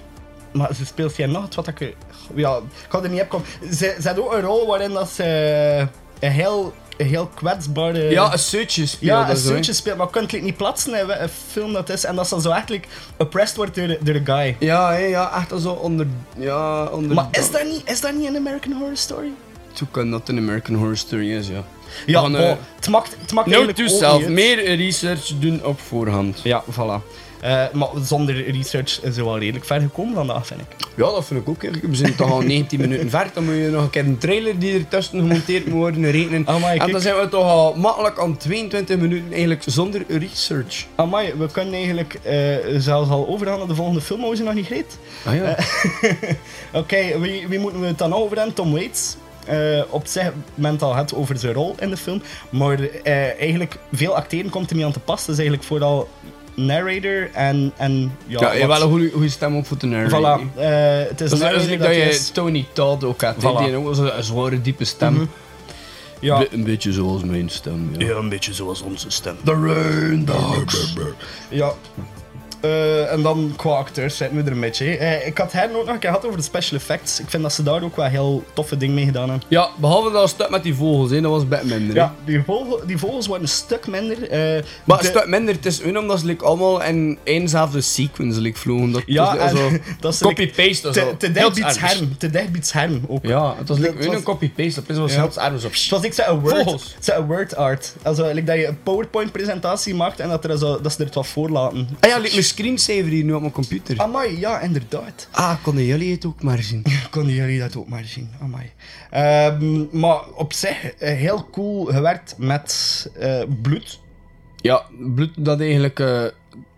[SPEAKER 2] maar ze speelt hier nog het wat ik... er- Ja, ik had er niet op komen. Ze, ze had ook een rol waarin dat ze eh, een heel, een heel kwetsbare...
[SPEAKER 1] Ja, een seutje speelt
[SPEAKER 2] eh, Ja, een
[SPEAKER 1] dat zo, hè.
[SPEAKER 2] suitje speelt, maar je kunt het niet plaatsen in een film dat is. En dat ze zo eigenlijk oppressed wordt door, de- door de guy.
[SPEAKER 1] Ja, hè, ja, echt al zo onder... Ja, onder...
[SPEAKER 2] Maar is dat niet, is dat niet een American Horror Story?
[SPEAKER 1] Zo kan dat een American Horror Story is, ja.
[SPEAKER 2] Ja,
[SPEAKER 1] Van,
[SPEAKER 2] bon,
[SPEAKER 1] eh,
[SPEAKER 2] het maakt, het maakt
[SPEAKER 1] Note
[SPEAKER 2] eigenlijk
[SPEAKER 1] to
[SPEAKER 2] ook
[SPEAKER 1] self.
[SPEAKER 2] niet uit.
[SPEAKER 1] Meer research doen op voorhand.
[SPEAKER 2] Ja, voilà. Eh, maar zonder research is ze wel redelijk ver gekomen vandaag, vind ik.
[SPEAKER 1] Ja, dat vind ik ook. eigenlijk. We zijn toch al 19 minuten ver. Dan moet je nog een keer een trailer die ertussen gemonteerd moet worden rekenen.
[SPEAKER 2] Amai,
[SPEAKER 1] en dan
[SPEAKER 2] kijk.
[SPEAKER 1] zijn we toch al makkelijk aan 22 minuten eigenlijk zonder research.
[SPEAKER 2] Amai, we kunnen eigenlijk eh, zelfs al overgaan naar de volgende film, maar we zijn nog niet gereed.
[SPEAKER 1] Ah ja.
[SPEAKER 2] Oké, wie, wie moeten we het dan over hebben? Tom Waits. Eh, op zich moment al het over zijn rol in de film. Maar eh, eigenlijk, veel acteren komt er niet aan te pas. Dat is eigenlijk vooral narrator en... en ja,
[SPEAKER 1] ja, je hebt
[SPEAKER 2] wat-
[SPEAKER 1] wel een goede, goede stem op voor de narrator.
[SPEAKER 2] Voilà, eh, het is
[SPEAKER 1] Dat is
[SPEAKER 2] narrator
[SPEAKER 1] eigenlijk dat
[SPEAKER 2] hij
[SPEAKER 1] je
[SPEAKER 2] is-
[SPEAKER 1] Tony Todd ook had. hè.
[SPEAKER 2] Voilà.
[SPEAKER 1] Die had ook wel zo'n zware, diepe stem.
[SPEAKER 2] Ja.
[SPEAKER 1] Be- een beetje zoals mijn stem, ja.
[SPEAKER 2] een beetje zoals onze stem.
[SPEAKER 1] The Rain Dogs.
[SPEAKER 2] Ja. Eh, en dan qua acteurs zitten we er een beetje. hè. Eh, ik had hen ook nog een keer gehad over de special effects. Ik vind dat ze daar ook wel heel toffe dingen mee gedaan hebben.
[SPEAKER 1] Ja, behalve dat stuk met die vogels, hè. dat was Batman. hè.
[SPEAKER 2] Ja, die, vogel, die vogels waren een stuk minder. eh,
[SPEAKER 1] Maar
[SPEAKER 2] de-
[SPEAKER 1] een stuk minder, het is hun omdat ze like, allemaal in éénzelfde sequence like, vlogen. Dat,
[SPEAKER 2] Ja,
[SPEAKER 1] dat is eh,
[SPEAKER 2] en
[SPEAKER 1] zo-
[SPEAKER 2] dat is
[SPEAKER 1] Copy-paste, dat is
[SPEAKER 2] te,
[SPEAKER 1] wel
[SPEAKER 2] te
[SPEAKER 1] heel
[SPEAKER 2] dicht bij het
[SPEAKER 1] anders.
[SPEAKER 2] scherm. Te dicht bij het scherm ook.
[SPEAKER 1] Ja, het was
[SPEAKER 2] Dat
[SPEAKER 1] like, hun
[SPEAKER 2] was-
[SPEAKER 1] een copy-paste, dat is wel
[SPEAKER 2] Ja.
[SPEAKER 1] zelfs ergens op.
[SPEAKER 2] Het was ik zei een word,
[SPEAKER 1] Vogels.
[SPEAKER 2] het zei een word art. Also, like dat je een PowerPoint presentatie maakt en dat, er zo, dat ze er het wat voor laten.
[SPEAKER 1] Ah ja, like, mijn screensaver hier nu op mijn computer.
[SPEAKER 2] Amai, ja, inderdaad.
[SPEAKER 1] Ah, konden jullie het ook maar zien?
[SPEAKER 2] Konden jullie dat ook maar zien? Amai. Ehm, maar op zich, eh, heel cool gewerkt met eh, bloed.
[SPEAKER 1] Ja, bloed dat eigenlijk eh,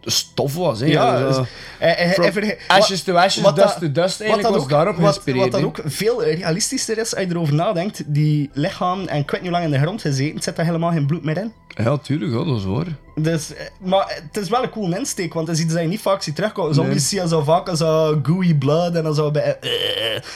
[SPEAKER 1] stof was, hè.
[SPEAKER 2] dus,
[SPEAKER 1] zo.
[SPEAKER 2] eh, eh,
[SPEAKER 1] From
[SPEAKER 2] eh, verge-
[SPEAKER 1] ashes
[SPEAKER 2] wat-
[SPEAKER 1] to ashes,
[SPEAKER 2] wat
[SPEAKER 1] dust
[SPEAKER 2] dat-
[SPEAKER 1] to dust, eigenlijk
[SPEAKER 2] wat dat
[SPEAKER 1] was
[SPEAKER 2] ook-
[SPEAKER 1] daarop
[SPEAKER 2] wat,
[SPEAKER 1] geïnspireerd,
[SPEAKER 2] Wat
[SPEAKER 1] hè.
[SPEAKER 2] dat ook veel eh, realistischer is als je erover nadenkt. Die lichaam en ik weet niet hoe lang in de grond gezeten, zit daar helemaal geen bloed meer in.
[SPEAKER 1] ja, tuurlijk, ja, dat is waar.
[SPEAKER 2] Dus, eh, maar het is wel een cool insteek, want het is iets dat je niet vaak ziet terugkomen. Zombies zie je zo vaak als zo gooey blood en dan zo bij... eh,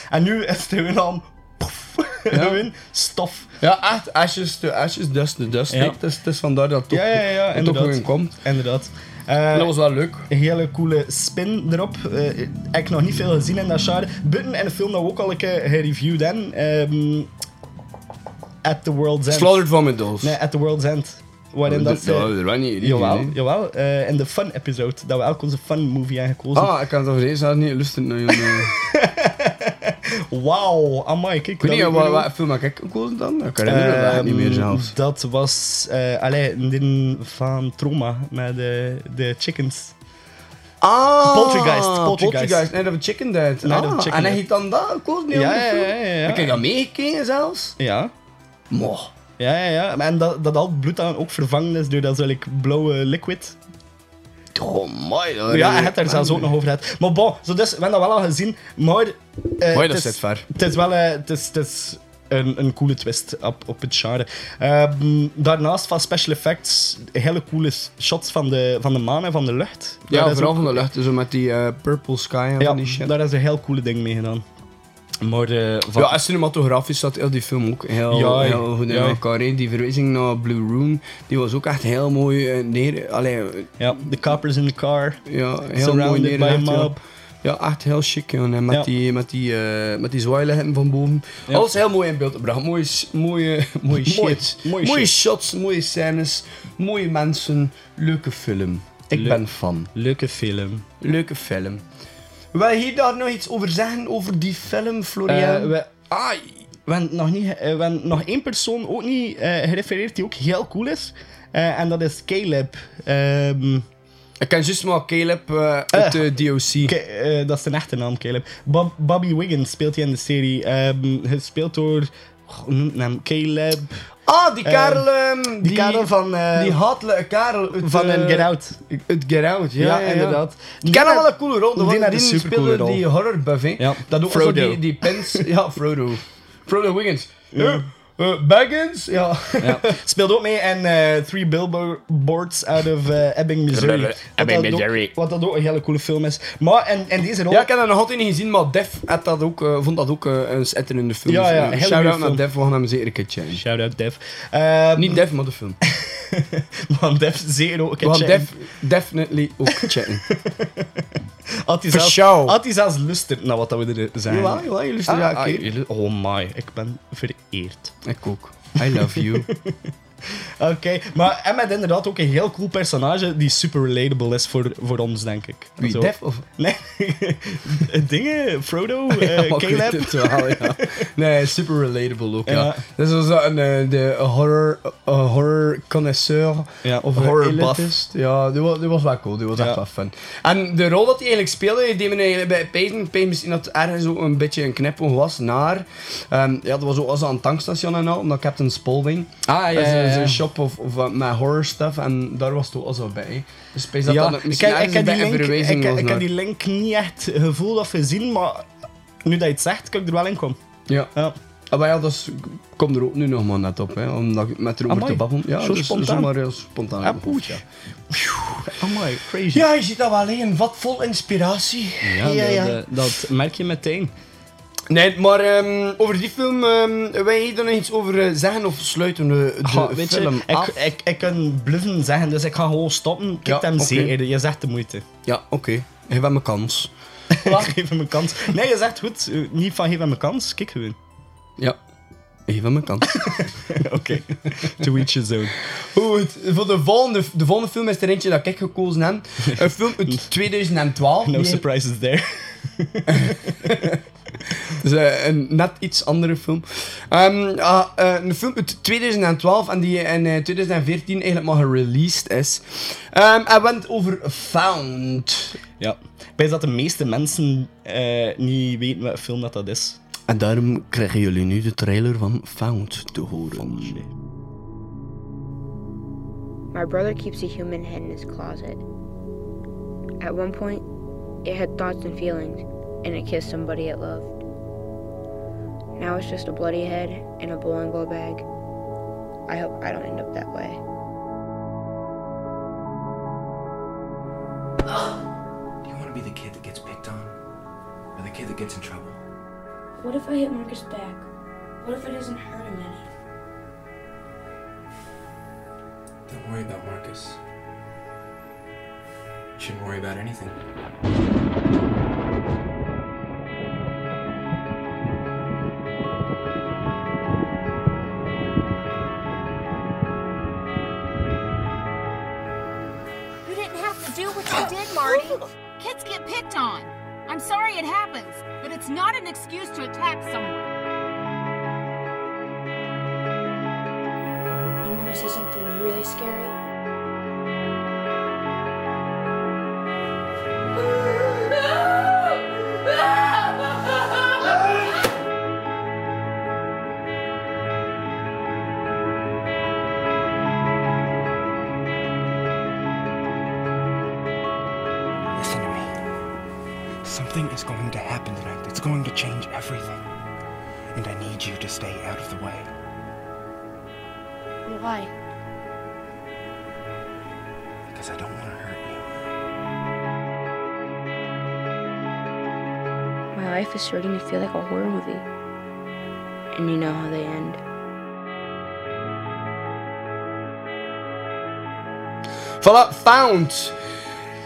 [SPEAKER 2] en nu is het gewoon aan... Poef, gewoon stof.
[SPEAKER 1] Ja, echt, ashes to ashes, dust to dust.
[SPEAKER 2] Ja.
[SPEAKER 1] hè. Het, is, het is vandaar dat het
[SPEAKER 2] Ja,
[SPEAKER 1] ook-
[SPEAKER 2] ja, ja,
[SPEAKER 1] dat het ook
[SPEAKER 2] inderdaad.
[SPEAKER 1] nog in komt.
[SPEAKER 2] Inderdaad. Eh,
[SPEAKER 1] Dat was wel leuk.
[SPEAKER 2] een hele coole spin erop. Eh, ik heb nog niet veel gezien in dat genre. Button en een film dat we ook al een keer gereviewd hebben. ehm, At the World's End.
[SPEAKER 1] Slaughtered van mijn dolls.
[SPEAKER 2] Nee, At the World's End. Waarin dat ze...
[SPEAKER 1] dat eh, was niet.
[SPEAKER 2] jawel,
[SPEAKER 1] hè.
[SPEAKER 2] jawel. eh, in de fun episode. Dat we elk onze fun movie hebben gekozen.
[SPEAKER 1] Ah, ik kan het over deze zelfs niet lusten. eh. Nee, nee.
[SPEAKER 2] Wauw, amai. Kijk,
[SPEAKER 1] Ik weet
[SPEAKER 2] dat
[SPEAKER 1] niet,
[SPEAKER 2] weet
[SPEAKER 1] wat,
[SPEAKER 2] ik
[SPEAKER 1] wat film heb ik gekozen dan? Ik herinner me dat
[SPEAKER 2] Ehm,
[SPEAKER 1] niet meer zelfs.
[SPEAKER 2] Dat was... eh allee, een ding van Trauma. Met de, de chickens.
[SPEAKER 1] Ah,
[SPEAKER 2] Poltergeist, Poltergeist.
[SPEAKER 1] Nee, dat was Chicken Dead.
[SPEAKER 2] Nee, dat
[SPEAKER 1] ah,
[SPEAKER 2] was Chicken
[SPEAKER 1] en hij
[SPEAKER 2] Dead.
[SPEAKER 1] heeft dan dat gekozen? die
[SPEAKER 2] Ja,
[SPEAKER 1] andere
[SPEAKER 2] ja,
[SPEAKER 1] film?
[SPEAKER 2] ja, ja, ja.
[SPEAKER 1] Heb ik dat meegekeken zelfs?
[SPEAKER 2] Ja.
[SPEAKER 1] Mo.
[SPEAKER 2] Ja, ja, ja. En dat, dat al het bloed dan ook vervangen is door dat zo'n like, blauwe liquid.
[SPEAKER 1] Oh, mooi. dat
[SPEAKER 2] ja,
[SPEAKER 1] is-
[SPEAKER 2] hij had daar zelfs ook nog over gehad. Maar bon, zo dus, we hebben dat wel al gezien. Maar... eh,
[SPEAKER 1] Mooi,
[SPEAKER 2] het
[SPEAKER 1] dat
[SPEAKER 2] is-
[SPEAKER 1] zit ver.
[SPEAKER 2] Het is wel... eh, het, is, het is een, een coole twist op, op het genre. Ehm, daarnaast van special effects, hele coole shots van de, van de maan en van de lucht.
[SPEAKER 1] Ja,
[SPEAKER 2] Daar is
[SPEAKER 1] vooral
[SPEAKER 2] ook-
[SPEAKER 1] van de lucht, zo met die eh, purple sky en
[SPEAKER 2] Ja,
[SPEAKER 1] van die shit.
[SPEAKER 2] daar is een heel coole ding mee gedaan. Maar eh, van-
[SPEAKER 1] Ja, en cinematografisch zat heel die film ook heel,
[SPEAKER 2] Ja,
[SPEAKER 1] heel goed in
[SPEAKER 2] ja.
[SPEAKER 1] elkaar. hè. Die verwijzing naar Blue Room, die was ook echt heel mooi eh, neer... Allee,
[SPEAKER 2] ja, de coppers in the car.
[SPEAKER 1] ja, heel mooi
[SPEAKER 2] Surrounded by a
[SPEAKER 1] neergelegd. Ja.
[SPEAKER 2] mob.
[SPEAKER 1] ja, echt heel chic, jongen. En Met,
[SPEAKER 2] Ja.
[SPEAKER 1] die, met, die, eh, met die zwaailichten van boven. Alles heel mooi in beeld gebracht. Mooie, s- mooie, mooie shit.
[SPEAKER 2] Mooi-
[SPEAKER 1] mooie,
[SPEAKER 2] mooie shit.
[SPEAKER 1] shots, mooie scènes, mooie mensen. Leuke film. Ik
[SPEAKER 2] Leuk.
[SPEAKER 1] ben fan.
[SPEAKER 2] Leuke film.
[SPEAKER 1] Leuke film. Wil je daar nog iets over zeggen, over die film, Florian?
[SPEAKER 2] Eh, we, ah, we hebben nog, niet, eh, we hebben nog één persoon ook niet eh, gerefereerd die ook heel cool is. Eh, en dat is Caleb. Ehm,
[SPEAKER 1] Ik ken juist maar Caleb eh uit
[SPEAKER 2] Eh.
[SPEAKER 1] de DOC.
[SPEAKER 2] Ke- eh, dat is zijn echte naam, Caleb. Bob, Bobby Wiggins speelt hij in de serie. Ehm gespeeld door. goh, hoe noemt hij hem? Caleb.
[SPEAKER 1] ah, die kerel... ehm, die,
[SPEAKER 2] Eh, Die, kerel van. eh,
[SPEAKER 1] Die hatelijke kerel uit...
[SPEAKER 2] van een
[SPEAKER 1] eh,
[SPEAKER 2] Get Out.
[SPEAKER 1] Het Get Out, ja.
[SPEAKER 2] Ja, inderdaad.
[SPEAKER 1] Ik ken
[SPEAKER 2] Die-
[SPEAKER 1] wel een coole rol.
[SPEAKER 2] die
[SPEAKER 1] Die,
[SPEAKER 2] had
[SPEAKER 1] die,
[SPEAKER 2] een
[SPEAKER 1] die
[SPEAKER 2] supercoole
[SPEAKER 1] speelde
[SPEAKER 2] rol.
[SPEAKER 1] die horrorbuff, hè.
[SPEAKER 2] Ja.
[SPEAKER 1] Dat ook Frodo.
[SPEAKER 2] Frodo.
[SPEAKER 1] die, die pins... Ja, Frodo. Frodo Wiggins. Eh, eh, Baggins? Ja.
[SPEAKER 2] Ja. Speelde ook mee in eh, Three Billboards out of eh, Ebbing, Missouri. Wat
[SPEAKER 1] Ebbing,
[SPEAKER 2] dat ook-
[SPEAKER 1] Missouri.
[SPEAKER 2] Wat dat ook een hele coole film is. Maar en, en deze rol.
[SPEAKER 1] Ja, ik heb dat nog altijd niet gezien, maar Def had dat ook, eh, vond dat ook eh, een schitterende film.
[SPEAKER 2] Ja, ja,
[SPEAKER 1] Eh,
[SPEAKER 2] hele goede
[SPEAKER 1] Shout-out naar
[SPEAKER 2] film.
[SPEAKER 1] Def, we gaan hem zeker een keer checken.
[SPEAKER 2] Shout out Dev. Ehm,
[SPEAKER 1] Niet Def, maar de film.
[SPEAKER 2] Want Def zeer ook.
[SPEAKER 1] We gaan Def definitely ook checken.
[SPEAKER 2] Had hij
[SPEAKER 1] For
[SPEAKER 2] zelfs,
[SPEAKER 1] show.
[SPEAKER 2] had hij zelfs luisterd naar wat dat we er zijn.
[SPEAKER 1] Jawel, jawel, jullie
[SPEAKER 2] Ah,
[SPEAKER 1] zijn ja,
[SPEAKER 2] ah,
[SPEAKER 1] oké.
[SPEAKER 2] jullie- oh my, ik ben vereerd.
[SPEAKER 1] Ik ook. I love you.
[SPEAKER 2] Oké, maar en met inderdaad ook een heel cool personage die super relatable is voor, voor ons, denk ik.
[SPEAKER 1] Wie,
[SPEAKER 2] Zo.
[SPEAKER 1] Def of...
[SPEAKER 2] Nee, dingen, Frodo, eh,
[SPEAKER 1] Ja, maar Oh, ik weet
[SPEAKER 2] Caleb.
[SPEAKER 1] het wel, ja. Nee, super relatable ook, ja.
[SPEAKER 2] Ja.
[SPEAKER 1] Dus was dat een eh, de horror, eh, horror connoisseur
[SPEAKER 2] Ja,
[SPEAKER 1] of een
[SPEAKER 2] horror buff.
[SPEAKER 1] elitist. Ja, die was, die was wel cool, die was
[SPEAKER 2] Ja.
[SPEAKER 1] echt wel fun. En de rol dat hij eigenlijk speelde, die deed me eigenlijk bij Peyton, Peyton misschien dat ergens ook een beetje een knipoog was naar... ehm, ja, dat was ook als aan het tankstation en al, omdat Captain Spaulding...
[SPEAKER 2] Ah,
[SPEAKER 1] Dat is een- zo'n shop of, of wat met horror stuff en daar was het ook al zo bij. hè. Dus ik denk dat
[SPEAKER 2] Ja,
[SPEAKER 1] dat
[SPEAKER 2] ik,
[SPEAKER 1] misschien
[SPEAKER 2] heb- ik,
[SPEAKER 1] ergens een
[SPEAKER 2] heb die
[SPEAKER 1] beetje een
[SPEAKER 2] link, ik,
[SPEAKER 1] verwijzing
[SPEAKER 2] heb-
[SPEAKER 1] was
[SPEAKER 2] ik heb
[SPEAKER 1] naar-
[SPEAKER 2] die link niet echt eh, gevoeld of gezien, maar nu dat je het zegt, kan ik er wel in komen.
[SPEAKER 1] Ja.
[SPEAKER 2] Ja.
[SPEAKER 1] Ah, maar ja, dat is- ik kom er ook nu nog maar net op, hè, omdat ik met erover
[SPEAKER 2] Amai.
[SPEAKER 1] te babbelen. Ja,
[SPEAKER 2] Zo
[SPEAKER 1] dat is
[SPEAKER 2] spontaan.
[SPEAKER 1] zomaar heel spontaan.
[SPEAKER 2] Ah, poeh. Amai, crazy.
[SPEAKER 1] Ja, je ziet dat wel heen, wat vol inspiratie.
[SPEAKER 2] Ja, Dat, dat merk je meteen.
[SPEAKER 1] Nee, maar ehm, over die film, ehm wij hier dan nog iets over eh, zeggen of sluiten we de
[SPEAKER 2] Goh, weet
[SPEAKER 1] film
[SPEAKER 2] je, ik,
[SPEAKER 1] af?
[SPEAKER 2] ik, ik kan bluffen zeggen, dus ik ga gewoon stoppen. Kijk
[SPEAKER 1] Ja,
[SPEAKER 2] hem
[SPEAKER 1] oké.
[SPEAKER 2] zeker, je zegt de moeite.
[SPEAKER 1] Ja, oké. Geef hem een kans.
[SPEAKER 2] geef hem een kans. Nee, je zegt goed, eh, niet van geef hem een kans, kijk gewoon.
[SPEAKER 1] Ja. Geef hem een kans.
[SPEAKER 2] Oké, to each his own.
[SPEAKER 1] Goed, voor de volgende, de volgende film is er eentje dat ik gekozen heb. Een film uit 2012.
[SPEAKER 2] No
[SPEAKER 1] die-
[SPEAKER 2] surprises there.
[SPEAKER 1] Dus eh, een net iets andere film. Ehm, ah, eh, een film uit 2012 en die in eh, 2014 eigenlijk maar gereleased is. Ehm en we hebben het over Found.
[SPEAKER 2] Ja. Ik weet dat de meeste mensen eh, niet weten wat film dat, dat is.
[SPEAKER 1] En daarom krijgen jullie nu de trailer van Found te
[SPEAKER 2] Oh,
[SPEAKER 1] horen.
[SPEAKER 8] My brother keeps a human head in his closet. At one point, it had thoughts and feelings, and it kissed somebody it loved. Now it's just a bloody head in a bowling ball bag. I hope I don't end up that way.
[SPEAKER 9] You want to be the kid that gets picked on? Or the kid that gets in trouble?
[SPEAKER 8] What if I hit Marcus back? What if it doesn't hurt him any?
[SPEAKER 9] Don't worry about Marcus. Shouldn't worry about anything.
[SPEAKER 4] You didn't have to do what you did, Marty. Kids get picked on. I'm sorry it happens, but it's not an excuse to attack someone.
[SPEAKER 8] You want to see something really scary?
[SPEAKER 9] Listen to me. Something is going to happen tonight that's going to change everything. and I need you to stay out of the way.
[SPEAKER 8] Why?
[SPEAKER 9] Because I don't want to hurt you.
[SPEAKER 8] My life is starting to feel like a horror movie. And you know how they end.
[SPEAKER 1] Voilà, Found.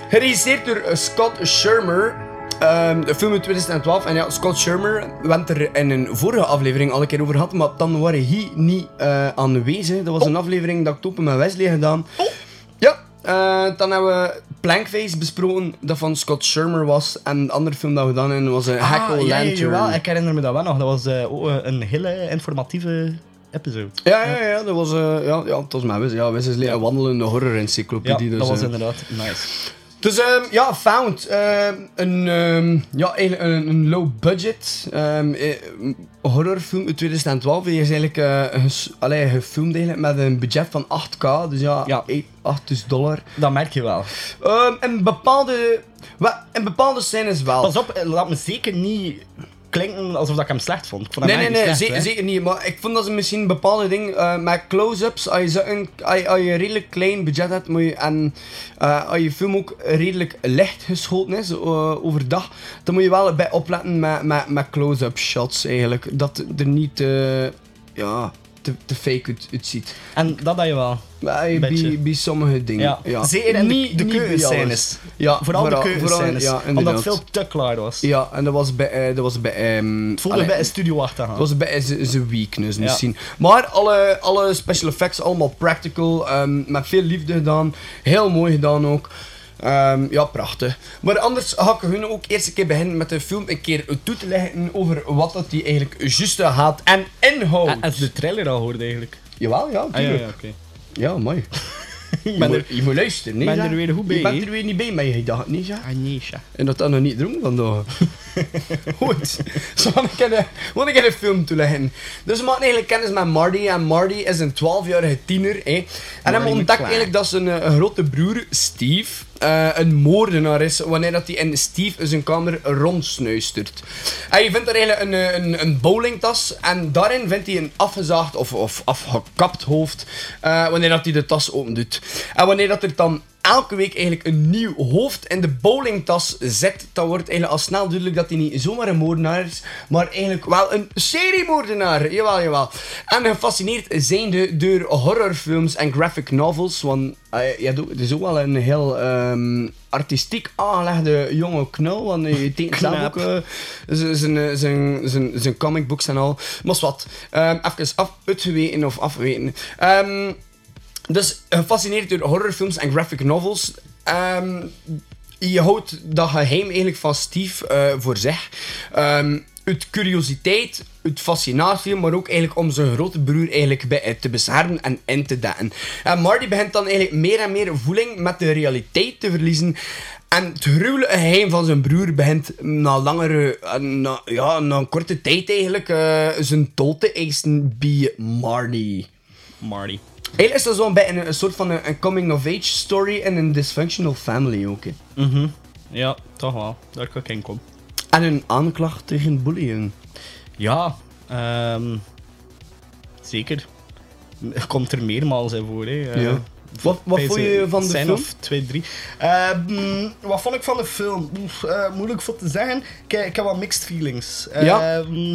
[SPEAKER 1] Geregisseerd door eh, Scott Shermer. Ehm, de film uit 2012. En ja, Scott Shermer, we hebben het er in een vorige aflevering al een keer over gehad, maar dan waren hij niet eh, aanwezig.
[SPEAKER 2] Oh.
[SPEAKER 1] Dat was een aflevering dat ik toen met Wesley gedaan. Ja, eh, dan hebben we Plankface besproken, dat van Scott Shermer was. En de andere film dat we gedaan hebben was een Hack
[SPEAKER 2] Ah,
[SPEAKER 1] o'
[SPEAKER 2] ja, ja,
[SPEAKER 1] Lantern.
[SPEAKER 2] jawel, ik herinner me dat wel nog. Dat was eh, ook, eh, een hele informatieve episode.
[SPEAKER 1] Ja, ja, ja, dat was, eh ja, ja, het was maar Wes. Ja, Wes is een wandelende
[SPEAKER 2] Ja,
[SPEAKER 1] horror-encyclopedie. dus,
[SPEAKER 2] dat was
[SPEAKER 1] eh.
[SPEAKER 2] inderdaad nice.
[SPEAKER 1] Dus ehm, ja, Found. ehm, een, ehm, ja, eigenlijk een, een low budget ehm, eh, horrorfilm uit 2012. Die is eigenlijk eh, ges- allee, gefilmd eigenlijk met een budget van 8k. Dus ja,
[SPEAKER 2] Ja.
[SPEAKER 1] 8 dus dollar.
[SPEAKER 2] Dat merk je wel.
[SPEAKER 1] Ehm, en bepaalde, wa- en bepaalde scènes wel.
[SPEAKER 2] Pas op, eh, laat me zeker niet klinken alsof dat ik hem slecht vond. Ik vond
[SPEAKER 1] Nee,
[SPEAKER 2] hem
[SPEAKER 1] nee,
[SPEAKER 2] eigenlijk
[SPEAKER 1] nee,
[SPEAKER 2] niet
[SPEAKER 1] ze-
[SPEAKER 2] slecht,
[SPEAKER 1] zeker niet. Maar ik vond dat ze misschien bepaalde dingen eh, met close-ups, als je, zo een, als, je, als je een redelijk klein budget hebt moet je, en eh, als je film ook redelijk licht geschoten is eh, overdag, dan moet je wel bij opletten met, met, met close-up shots eigenlijk. Dat er niet eh, ja, te, te fake uit, uitziet.
[SPEAKER 2] hè. En dat had je wel.
[SPEAKER 1] Bij, bij,
[SPEAKER 2] Beetje.
[SPEAKER 1] bij sommige dingen. Ja.
[SPEAKER 2] Ja. Zeker in de- de
[SPEAKER 1] bij
[SPEAKER 2] keuzescènes.
[SPEAKER 1] alles. Ja,
[SPEAKER 2] Vooral, de
[SPEAKER 1] vooral-
[SPEAKER 2] keuzescènes.
[SPEAKER 1] Ja,
[SPEAKER 2] omdat
[SPEAKER 1] inderdaad.
[SPEAKER 2] het veel te klaar was.
[SPEAKER 1] Ja, en dat was bij... eh, dat was bij ehm,
[SPEAKER 2] Het voelde
[SPEAKER 1] allee,
[SPEAKER 2] bij een studio achter
[SPEAKER 1] dat was bij zijn- zijn weakness
[SPEAKER 2] Ja.
[SPEAKER 1] misschien. Maar alle, alle special effects, allemaal practical. ehm, met veel liefde gedaan. Heel mooi gedaan ook. Ehm, ja, prachtig. Maar anders ga ik hun ook eerst een keer beginnen met de film een keer toe te leggen over wat dat die eigenlijk juist haat en inhoudt.
[SPEAKER 2] Als Ah, de trailer al hoorde eigenlijk.
[SPEAKER 1] Jawel, ja,
[SPEAKER 2] Ah, ja,
[SPEAKER 1] tuurlijk.
[SPEAKER 2] ja, oké.
[SPEAKER 1] Ja, mooi. Je,
[SPEAKER 2] bent
[SPEAKER 1] moet-
[SPEAKER 2] er-
[SPEAKER 1] je moet luisteren, nee?
[SPEAKER 2] je bent
[SPEAKER 1] zeg?
[SPEAKER 2] er weer goed bij,
[SPEAKER 1] Je bent
[SPEAKER 2] hè?
[SPEAKER 1] er weer niet bij met je gedachten, nee? zeg?
[SPEAKER 2] Anisha.
[SPEAKER 1] En dat dat nog niet droom vandaag. Goed. Zo wil ik, een, wil ik een film toeleggen. Dus we maken eigenlijk kennis met Marty. En Marty is een 12-jarige tiener. Hè. En hem
[SPEAKER 2] McFly.
[SPEAKER 1] ontdekt eigenlijk dat zijn eh, grote broer, Steve, eh, een moordenaar is. Wanneer dat hij in Steve in zijn kamer rondsnuistert. En je vindt er eigenlijk een, eh, een, een bowlingtas. En daarin vindt hij een afgezaagd of, of afgekapt hoofd. eh, wanneer dat hij de tas opendoet. En wanneer dat er dan elke week eigenlijk een nieuw hoofd in de bowlingtas zet, dan wordt eigenlijk al snel duidelijk dat hij niet zomaar een moordenaar is, maar eigenlijk wel een seriemoordenaar. Jawel, jawel. En gefascineerd zijnde door horrorfilms en graphic novels, want eh, je hebt ook- het is ook wel een heel ehm, artistiek aangelegde jonge knul, want je tekent zelf ook
[SPEAKER 2] Knap.
[SPEAKER 1] eh, z- zijn, eh, zijn, zijn, zijn comicbooks en al. Maar is wat, Ehm even af, uitgeweten of afweten. Ehm, dus gefascineerd door horrorfilms en graphic novels. Ehm, je houdt dat geheim eigenlijk van Steve eh, voor zich. Ehm, uit curiositeit, uit fascinatie, maar ook eigenlijk om zijn grote broer eigenlijk bij, eh, te beschermen en in te dekken. En Marty begint dan eigenlijk meer en meer voeling met de realiteit te verliezen. En het gruwelijke geheim van zijn broer begint na langere, eh, na, ja, na een korte tijd eigenlijk, eh, zijn tol te eisen bij Marty.
[SPEAKER 2] Marty.
[SPEAKER 1] Eigenlijk is dat zo'n bij een, een soort van een, een coming-of-age story en een dysfunctional family ook. hè.
[SPEAKER 2] Ja, toch wel. Daar kan ik in komen.
[SPEAKER 1] En een aanklacht tegen bullying.
[SPEAKER 2] Ja, ehm, zeker. Komt er meermaals in voor, hè. Eh,
[SPEAKER 1] Ja. Wat, wat
[SPEAKER 2] bij
[SPEAKER 1] vond
[SPEAKER 2] ze-
[SPEAKER 1] je van de
[SPEAKER 2] zijn
[SPEAKER 1] film?
[SPEAKER 2] of twee, drie. Ehm, wat vond ik van de film? Oef, eh, moeilijk voor te zeggen. Ik, ik heb wat mixed feelings.
[SPEAKER 1] Ja.
[SPEAKER 2] Ehm,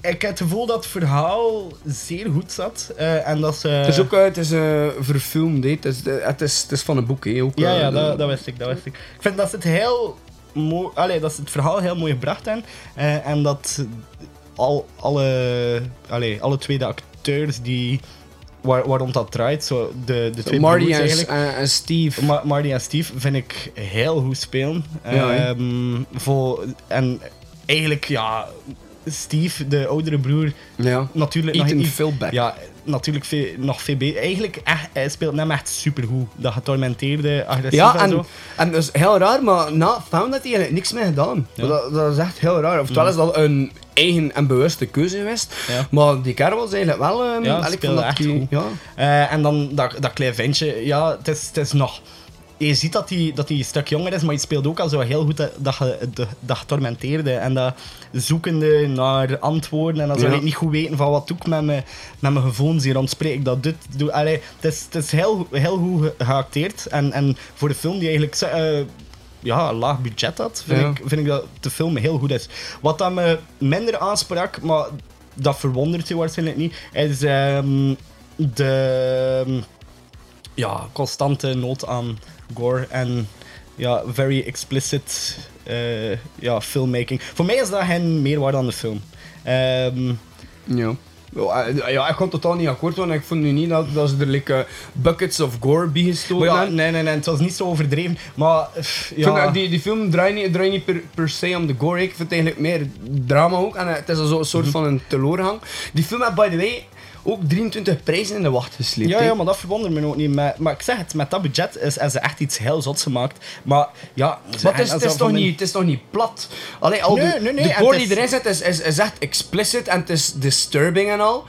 [SPEAKER 2] ik heb het gevoel dat het verhaal zeer goed zat. eh, en dat ze...
[SPEAKER 1] Het is ook eh, het is, eh, verfilmd, hè. het is, eh, het, is, het is van een boek. Hè, ook,
[SPEAKER 2] Ja,
[SPEAKER 1] eh,
[SPEAKER 2] ja dat, dat wist ik, dat wist ik. Ik vind dat ze het heel mooi... Allee, dat ze het verhaal heel mooi gebracht hebben. eh, en dat al, alle, allee, alle twee de acteurs die... Waar, waarom dat draait, zo de, de twee
[SPEAKER 1] Marty
[SPEAKER 2] broers
[SPEAKER 1] en, eh,
[SPEAKER 2] eigenlijk.
[SPEAKER 1] en, en Steve.
[SPEAKER 2] Ma- Marty en Steve vind ik heel goed spelen.
[SPEAKER 1] Ja, hè?
[SPEAKER 2] Ehm, voor, en eigenlijk, ja... Steve, de oudere broer,
[SPEAKER 1] ja.
[SPEAKER 2] natuurlijk
[SPEAKER 1] Ethan
[SPEAKER 2] nog...
[SPEAKER 1] Philbeck.
[SPEAKER 2] Ja, natuurlijk veel, nog VB. Eigenlijk echt, hij speelt hem echt supergoed. Dat getormenteerde, agressief
[SPEAKER 1] Ja,
[SPEAKER 2] en
[SPEAKER 1] en,
[SPEAKER 2] zo.
[SPEAKER 1] en dat is heel raar, maar na Found had hij eigenlijk niks mee gedaan.
[SPEAKER 2] Ja.
[SPEAKER 1] Dat, dat is echt heel raar. Oftewel is dat een eigen en bewuste keuze geweest.
[SPEAKER 2] Ja.
[SPEAKER 1] Maar die kerel was eigenlijk wel... ehm,
[SPEAKER 2] Ja,
[SPEAKER 1] en ik vond
[SPEAKER 2] speelde
[SPEAKER 1] dat
[SPEAKER 2] echt
[SPEAKER 1] die-
[SPEAKER 2] goed.
[SPEAKER 1] Ja.
[SPEAKER 2] Eh, en dan dat, dat klein ventje, ja, het is, het is nog je ziet dat hij dat die een stuk jonger is, maar je speelt ook al zo heel goed dat, dat, ge- de- dat getormenteerde en dat zoekende naar antwoorden en dan zou
[SPEAKER 1] Ja.
[SPEAKER 2] ik niet goed weten van wat doe ik met mijn, met mijn gevoelens hier, ontspreek ik dat dit, doe, allee, het is, het is heel, heel goed ge- geacteerd en, en voor de film die eigenlijk zo- eh, ja, een laag budget had, vind,
[SPEAKER 1] Ja.
[SPEAKER 2] ik, vind ik dat de film heel goed is. Wat dat me minder aansprak, maar dat verwondert je waarschijnlijk niet, is ehm, de ja, constante nood aan gore en ja, very explicit eh, ja, filmmaking. Voor mij is dat geen meerwaarde aan de film. Ehm,
[SPEAKER 1] Ja. Ja, eh, ja, ik kon totaal niet akkoord, want ik vond nu niet dat, dat ze er like, eh, buckets of gore bij gestoken
[SPEAKER 2] maar ja,
[SPEAKER 1] hebben.
[SPEAKER 2] nee, nee, nee, het was niet zo overdreven, maar pff,
[SPEAKER 1] Ik vind
[SPEAKER 2] ja,
[SPEAKER 1] dat die, die film draait niet, draait niet per, per se om de gore. Ik vind het eigenlijk meer drama ook. En eh, het is zo een
[SPEAKER 2] Mhm.
[SPEAKER 1] soort van een teleurgang. Die film had, by the way, ook 23 prijzen in de wacht gesleept.
[SPEAKER 2] ja,
[SPEAKER 1] hè.
[SPEAKER 2] ja, maar dat verwondert me ook niet. Maar, maar ik zeg het, met dat budget is, is ze echt iets heel zots gemaakt. Maar ja, ze-
[SPEAKER 1] Maar het is,
[SPEAKER 2] en-
[SPEAKER 1] het
[SPEAKER 2] en zo
[SPEAKER 1] is
[SPEAKER 2] van
[SPEAKER 1] toch
[SPEAKER 2] die-
[SPEAKER 1] niet, het is toch niet plat? Allee, al
[SPEAKER 2] Nee,
[SPEAKER 1] de,
[SPEAKER 2] nee, nee,
[SPEAKER 1] de
[SPEAKER 2] en
[SPEAKER 1] gore
[SPEAKER 2] het is-
[SPEAKER 1] die erin zit is, is, is echt explicit en het is disturbing en al.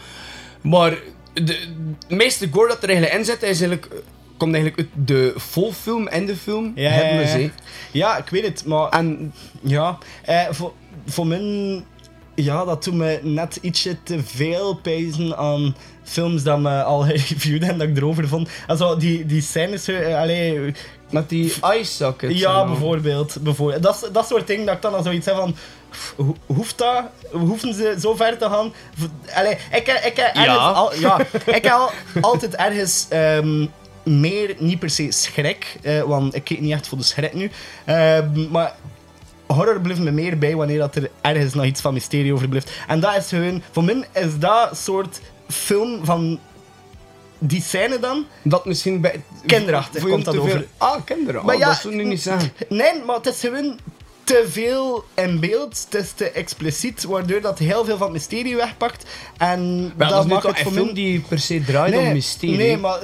[SPEAKER 1] Maar de, de meeste gore dat er eigenlijk in zit, is eigenlijk, komt eigenlijk uit de volfilm en de film.
[SPEAKER 2] Ja,
[SPEAKER 1] hebben
[SPEAKER 2] ja,
[SPEAKER 1] we
[SPEAKER 2] ja.
[SPEAKER 1] ze.
[SPEAKER 2] Ja, ik weet het, maar...
[SPEAKER 1] En
[SPEAKER 2] Ja, eh, voor, voor mijn... Ja, dat doet me net ietsje te veel pijzen aan films dat me al gereviewd en dat ik erover vond. Also, die, die scènes... eh, allee,
[SPEAKER 1] met die eye sockets. en
[SPEAKER 2] ja,
[SPEAKER 1] al.
[SPEAKER 2] bijvoorbeeld. bijvoorbeeld. Dat, is- dat soort dingen dat ik dan al zoiets heb van... pff, ho- Hoeft dat? Hoeven ze zo ver te gaan? V- Allee, ik, heb- ik, heb ergens al- ja, ik heb al- altijd ergens ehm, meer, niet per se schrik, eh, want ik keek niet echt voor de schrik nu. Ehm, maar horror blijft me meer bij wanneer dat er ergens nog iets van mysterie over blijft. En dat is gewoon... Voor mij is dat soort film van... Die scène dan,
[SPEAKER 1] Dat misschien bij...
[SPEAKER 2] Kinderachtig
[SPEAKER 1] voor je
[SPEAKER 2] komt
[SPEAKER 1] te
[SPEAKER 2] dat
[SPEAKER 1] veel-
[SPEAKER 2] over.
[SPEAKER 1] Ah, kinderen.
[SPEAKER 2] Maar
[SPEAKER 1] ah,
[SPEAKER 2] ja,
[SPEAKER 1] dat zou ik nu niet zeggen.
[SPEAKER 2] Nee, maar het is gewoon te veel in beeld. Het is te expliciet, waardoor dat heel veel van het mysterie wegpakt. En
[SPEAKER 1] Maar
[SPEAKER 2] dat
[SPEAKER 1] dat,
[SPEAKER 2] maakt
[SPEAKER 1] is
[SPEAKER 2] het
[SPEAKER 1] niet
[SPEAKER 2] voor
[SPEAKER 1] een
[SPEAKER 2] mij...
[SPEAKER 1] film die per se draait
[SPEAKER 2] nee,
[SPEAKER 1] om mysterie.
[SPEAKER 2] Nee, maar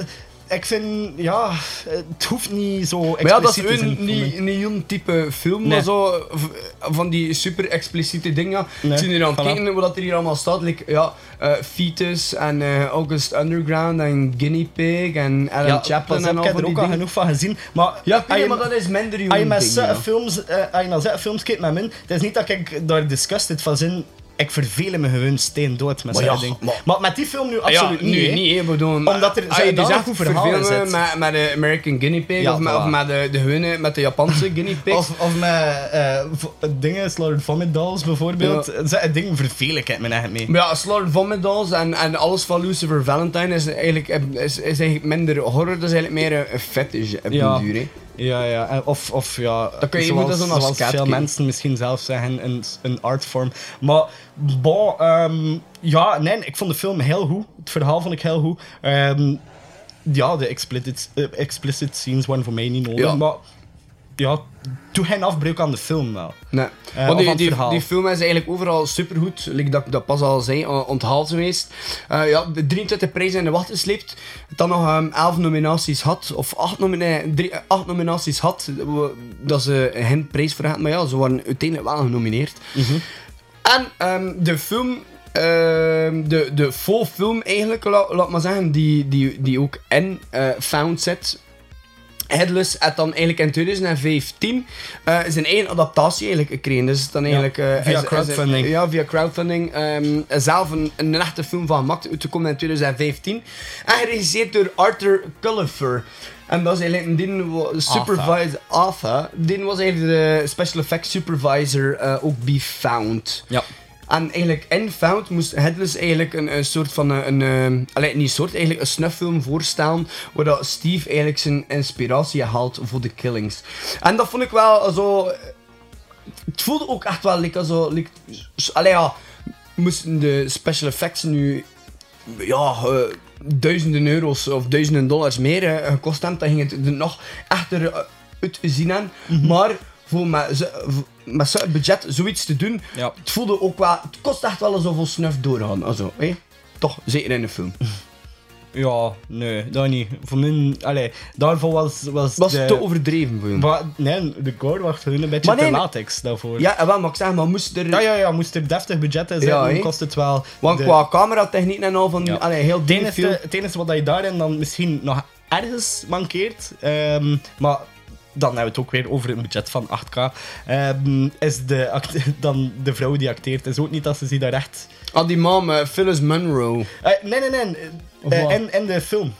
[SPEAKER 2] ik vind... Ja, het hoeft niet zo expliciet
[SPEAKER 1] Maar ja, dat is
[SPEAKER 2] te zijn
[SPEAKER 1] een
[SPEAKER 2] voor mij.
[SPEAKER 1] niet een type film,
[SPEAKER 2] Nee.
[SPEAKER 1] maar zo v- van die super expliciete dingen.
[SPEAKER 2] Nee,
[SPEAKER 1] Ik zit hier aan
[SPEAKER 2] voilà.
[SPEAKER 1] het kijken wat er hier allemaal staat. Like, ja, eh, Fetus en eh, August Underground en Guinea Pig en Alan
[SPEAKER 2] Ja,
[SPEAKER 1] Chaplin
[SPEAKER 2] pas op,
[SPEAKER 1] en
[SPEAKER 2] ik
[SPEAKER 1] al
[SPEAKER 2] heb
[SPEAKER 1] van
[SPEAKER 2] er
[SPEAKER 1] die
[SPEAKER 2] ook al
[SPEAKER 1] dingen.
[SPEAKER 2] genoeg van gezien. Maar
[SPEAKER 1] Ja, ik weet
[SPEAKER 2] I-
[SPEAKER 1] niet, maar dat is minder
[SPEAKER 2] Als je
[SPEAKER 1] jongen
[SPEAKER 2] met
[SPEAKER 1] ding, ja.
[SPEAKER 2] zo'n films, eh, als je naar zo'n films kijkt met min, het is niet dat ik daar disgusted van zin. Ik verveel me gewoon steen dood met
[SPEAKER 1] Maar
[SPEAKER 2] zo'n
[SPEAKER 1] ja,
[SPEAKER 2] ding. Maar,
[SPEAKER 1] maar-
[SPEAKER 2] met die film nu
[SPEAKER 1] Ah ja,
[SPEAKER 2] absoluut niet.
[SPEAKER 1] nu
[SPEAKER 2] hè.
[SPEAKER 1] niet, hè, bedoel,
[SPEAKER 2] Omdat er
[SPEAKER 1] als
[SPEAKER 2] zo'n
[SPEAKER 1] je dus
[SPEAKER 2] danig
[SPEAKER 1] echt
[SPEAKER 2] goed verhaal in
[SPEAKER 1] vervelen
[SPEAKER 2] zit.
[SPEAKER 1] Met, met de American Guinea Pig
[SPEAKER 2] Ja,
[SPEAKER 1] of, met,
[SPEAKER 2] voilà.
[SPEAKER 1] of met de, de hunne, met de Japanse Guinea Pigs.
[SPEAKER 2] Of, of met eh, v- dingen, Slaughtered Vomit Dolls bijvoorbeeld.
[SPEAKER 1] Ja.
[SPEAKER 2] Dat ding vervel ik het me echt mee.
[SPEAKER 1] Maar ja, Slaughtered Vomit Dolls en, en alles van Lucifer Valentine is eigenlijk, eh, is, is eigenlijk minder horror, dat is eigenlijk meer een- een fetish op
[SPEAKER 2] Ja.
[SPEAKER 1] een duur. hè.
[SPEAKER 2] Ja, ja. en Of, of ja,
[SPEAKER 1] Dan kun je- je moet dat zo naar
[SPEAKER 2] zoals
[SPEAKER 1] scat
[SPEAKER 2] veel
[SPEAKER 1] kijken.
[SPEAKER 2] mensen misschien zelf zeggen, een, een artform. Maar, bon, ehm, ja, nee, ik vond de film heel goed. Het verhaal vond ik heel goed. Ehm, ja, de explicit, eh, explicit scenes waren voor mij niet nodig,
[SPEAKER 1] Ja.
[SPEAKER 2] maar ja, doe geen afbreuk aan de film wel.
[SPEAKER 1] Nee.
[SPEAKER 2] Eh,
[SPEAKER 1] Want
[SPEAKER 2] of aan
[SPEAKER 1] die,
[SPEAKER 2] het
[SPEAKER 1] die,
[SPEAKER 2] verhaal.
[SPEAKER 1] die film is eigenlijk overal supergoed, like dat, dat pas al zei, on- onthaald geweest. Eh, ja, de 23 prijzen in de wacht gesleept. Dan nog ehm 11 nominaties had, of 8, nomina- drie- eh, acht nominaties had, we- dat ze geen prijs voor hadden. Maar ja, ze waren uiteindelijk wel genomineerd.
[SPEAKER 2] Mhm.
[SPEAKER 1] En ehm, de film, ehm, de, de full film eigenlijk, la- laat, maar zeggen, die, die, die ook in eh, Found zit, Headless had dan eigenlijk in 2015 eh, zijn eigen adaptatie eigenlijk gekregen. Dus het dan eigenlijk, eh,
[SPEAKER 2] via
[SPEAKER 1] is- is-
[SPEAKER 2] crowdfunding.
[SPEAKER 1] ja, via crowdfunding. ehm, zelf een, een echte film van gemaakt, uitgekomen in 2015. En geregisseerd door Arthur Culliver. En dat is eigenlijk een wa- supervisor, Arthur. Dit was eigenlijk de special effects supervisor, eh, ook bij Found.
[SPEAKER 2] Ja.
[SPEAKER 1] En eigenlijk in Found moest Headless eigenlijk een, een soort van een... een eh, allee, niet soort, eigenlijk een snuffilm voorstellen waar dat Steve eigenlijk zijn inspiratie haalt voor de killings. En dat vond ik wel zo... Het voelde ook echt wel lekker zo... Like, s- allee ja, moesten de special effects nu... Ja, eh, duizenden euro's of duizenden dollars meer eh, gekost hebben, dan ging het er nog echter eh, uit zien aan.
[SPEAKER 2] Mhm.
[SPEAKER 1] Maar voor met, zo- met zo'n budget zoiets te doen,
[SPEAKER 2] Ja.
[SPEAKER 1] het voelde ook wel... Het kost echt wel zoveel snuf doorgaan, also, hè? Toch, zeker in een film.
[SPEAKER 2] Ja, nee, dat niet. Voor mij, allee, daarvoor was... Was,
[SPEAKER 1] Was
[SPEAKER 2] de,
[SPEAKER 1] te overdreven voor je.
[SPEAKER 2] wa- Nee, de gore was gewoon een beetje
[SPEAKER 1] Maar nee,
[SPEAKER 2] te latex daarvoor.
[SPEAKER 1] Ja, en wel, maar ik zeg, maar moest er...
[SPEAKER 2] Ja, ja, ja, moest er deftig budget in
[SPEAKER 1] Ja,
[SPEAKER 2] zitten,
[SPEAKER 1] hè?
[SPEAKER 2] kost het wel.
[SPEAKER 1] Want
[SPEAKER 2] de-
[SPEAKER 1] qua cameratechniek en al van...
[SPEAKER 2] Ja.
[SPEAKER 1] Allee, heel
[SPEAKER 2] het
[SPEAKER 1] ding
[SPEAKER 2] enige,
[SPEAKER 1] veel...
[SPEAKER 2] het enige wat je daarin dan misschien nog ergens mankeert, ehm, maar dan hebben we het ook weer over een budget van 8K. ehm, is de, act- dan de vrouw die acteert, is ook niet dat ze zich daar echt...
[SPEAKER 1] Ah, die mom, eh, Phyllis Munro.
[SPEAKER 2] Eh, nee, nee, nee.
[SPEAKER 1] Of
[SPEAKER 2] eh,
[SPEAKER 1] wat?
[SPEAKER 2] en, en de film.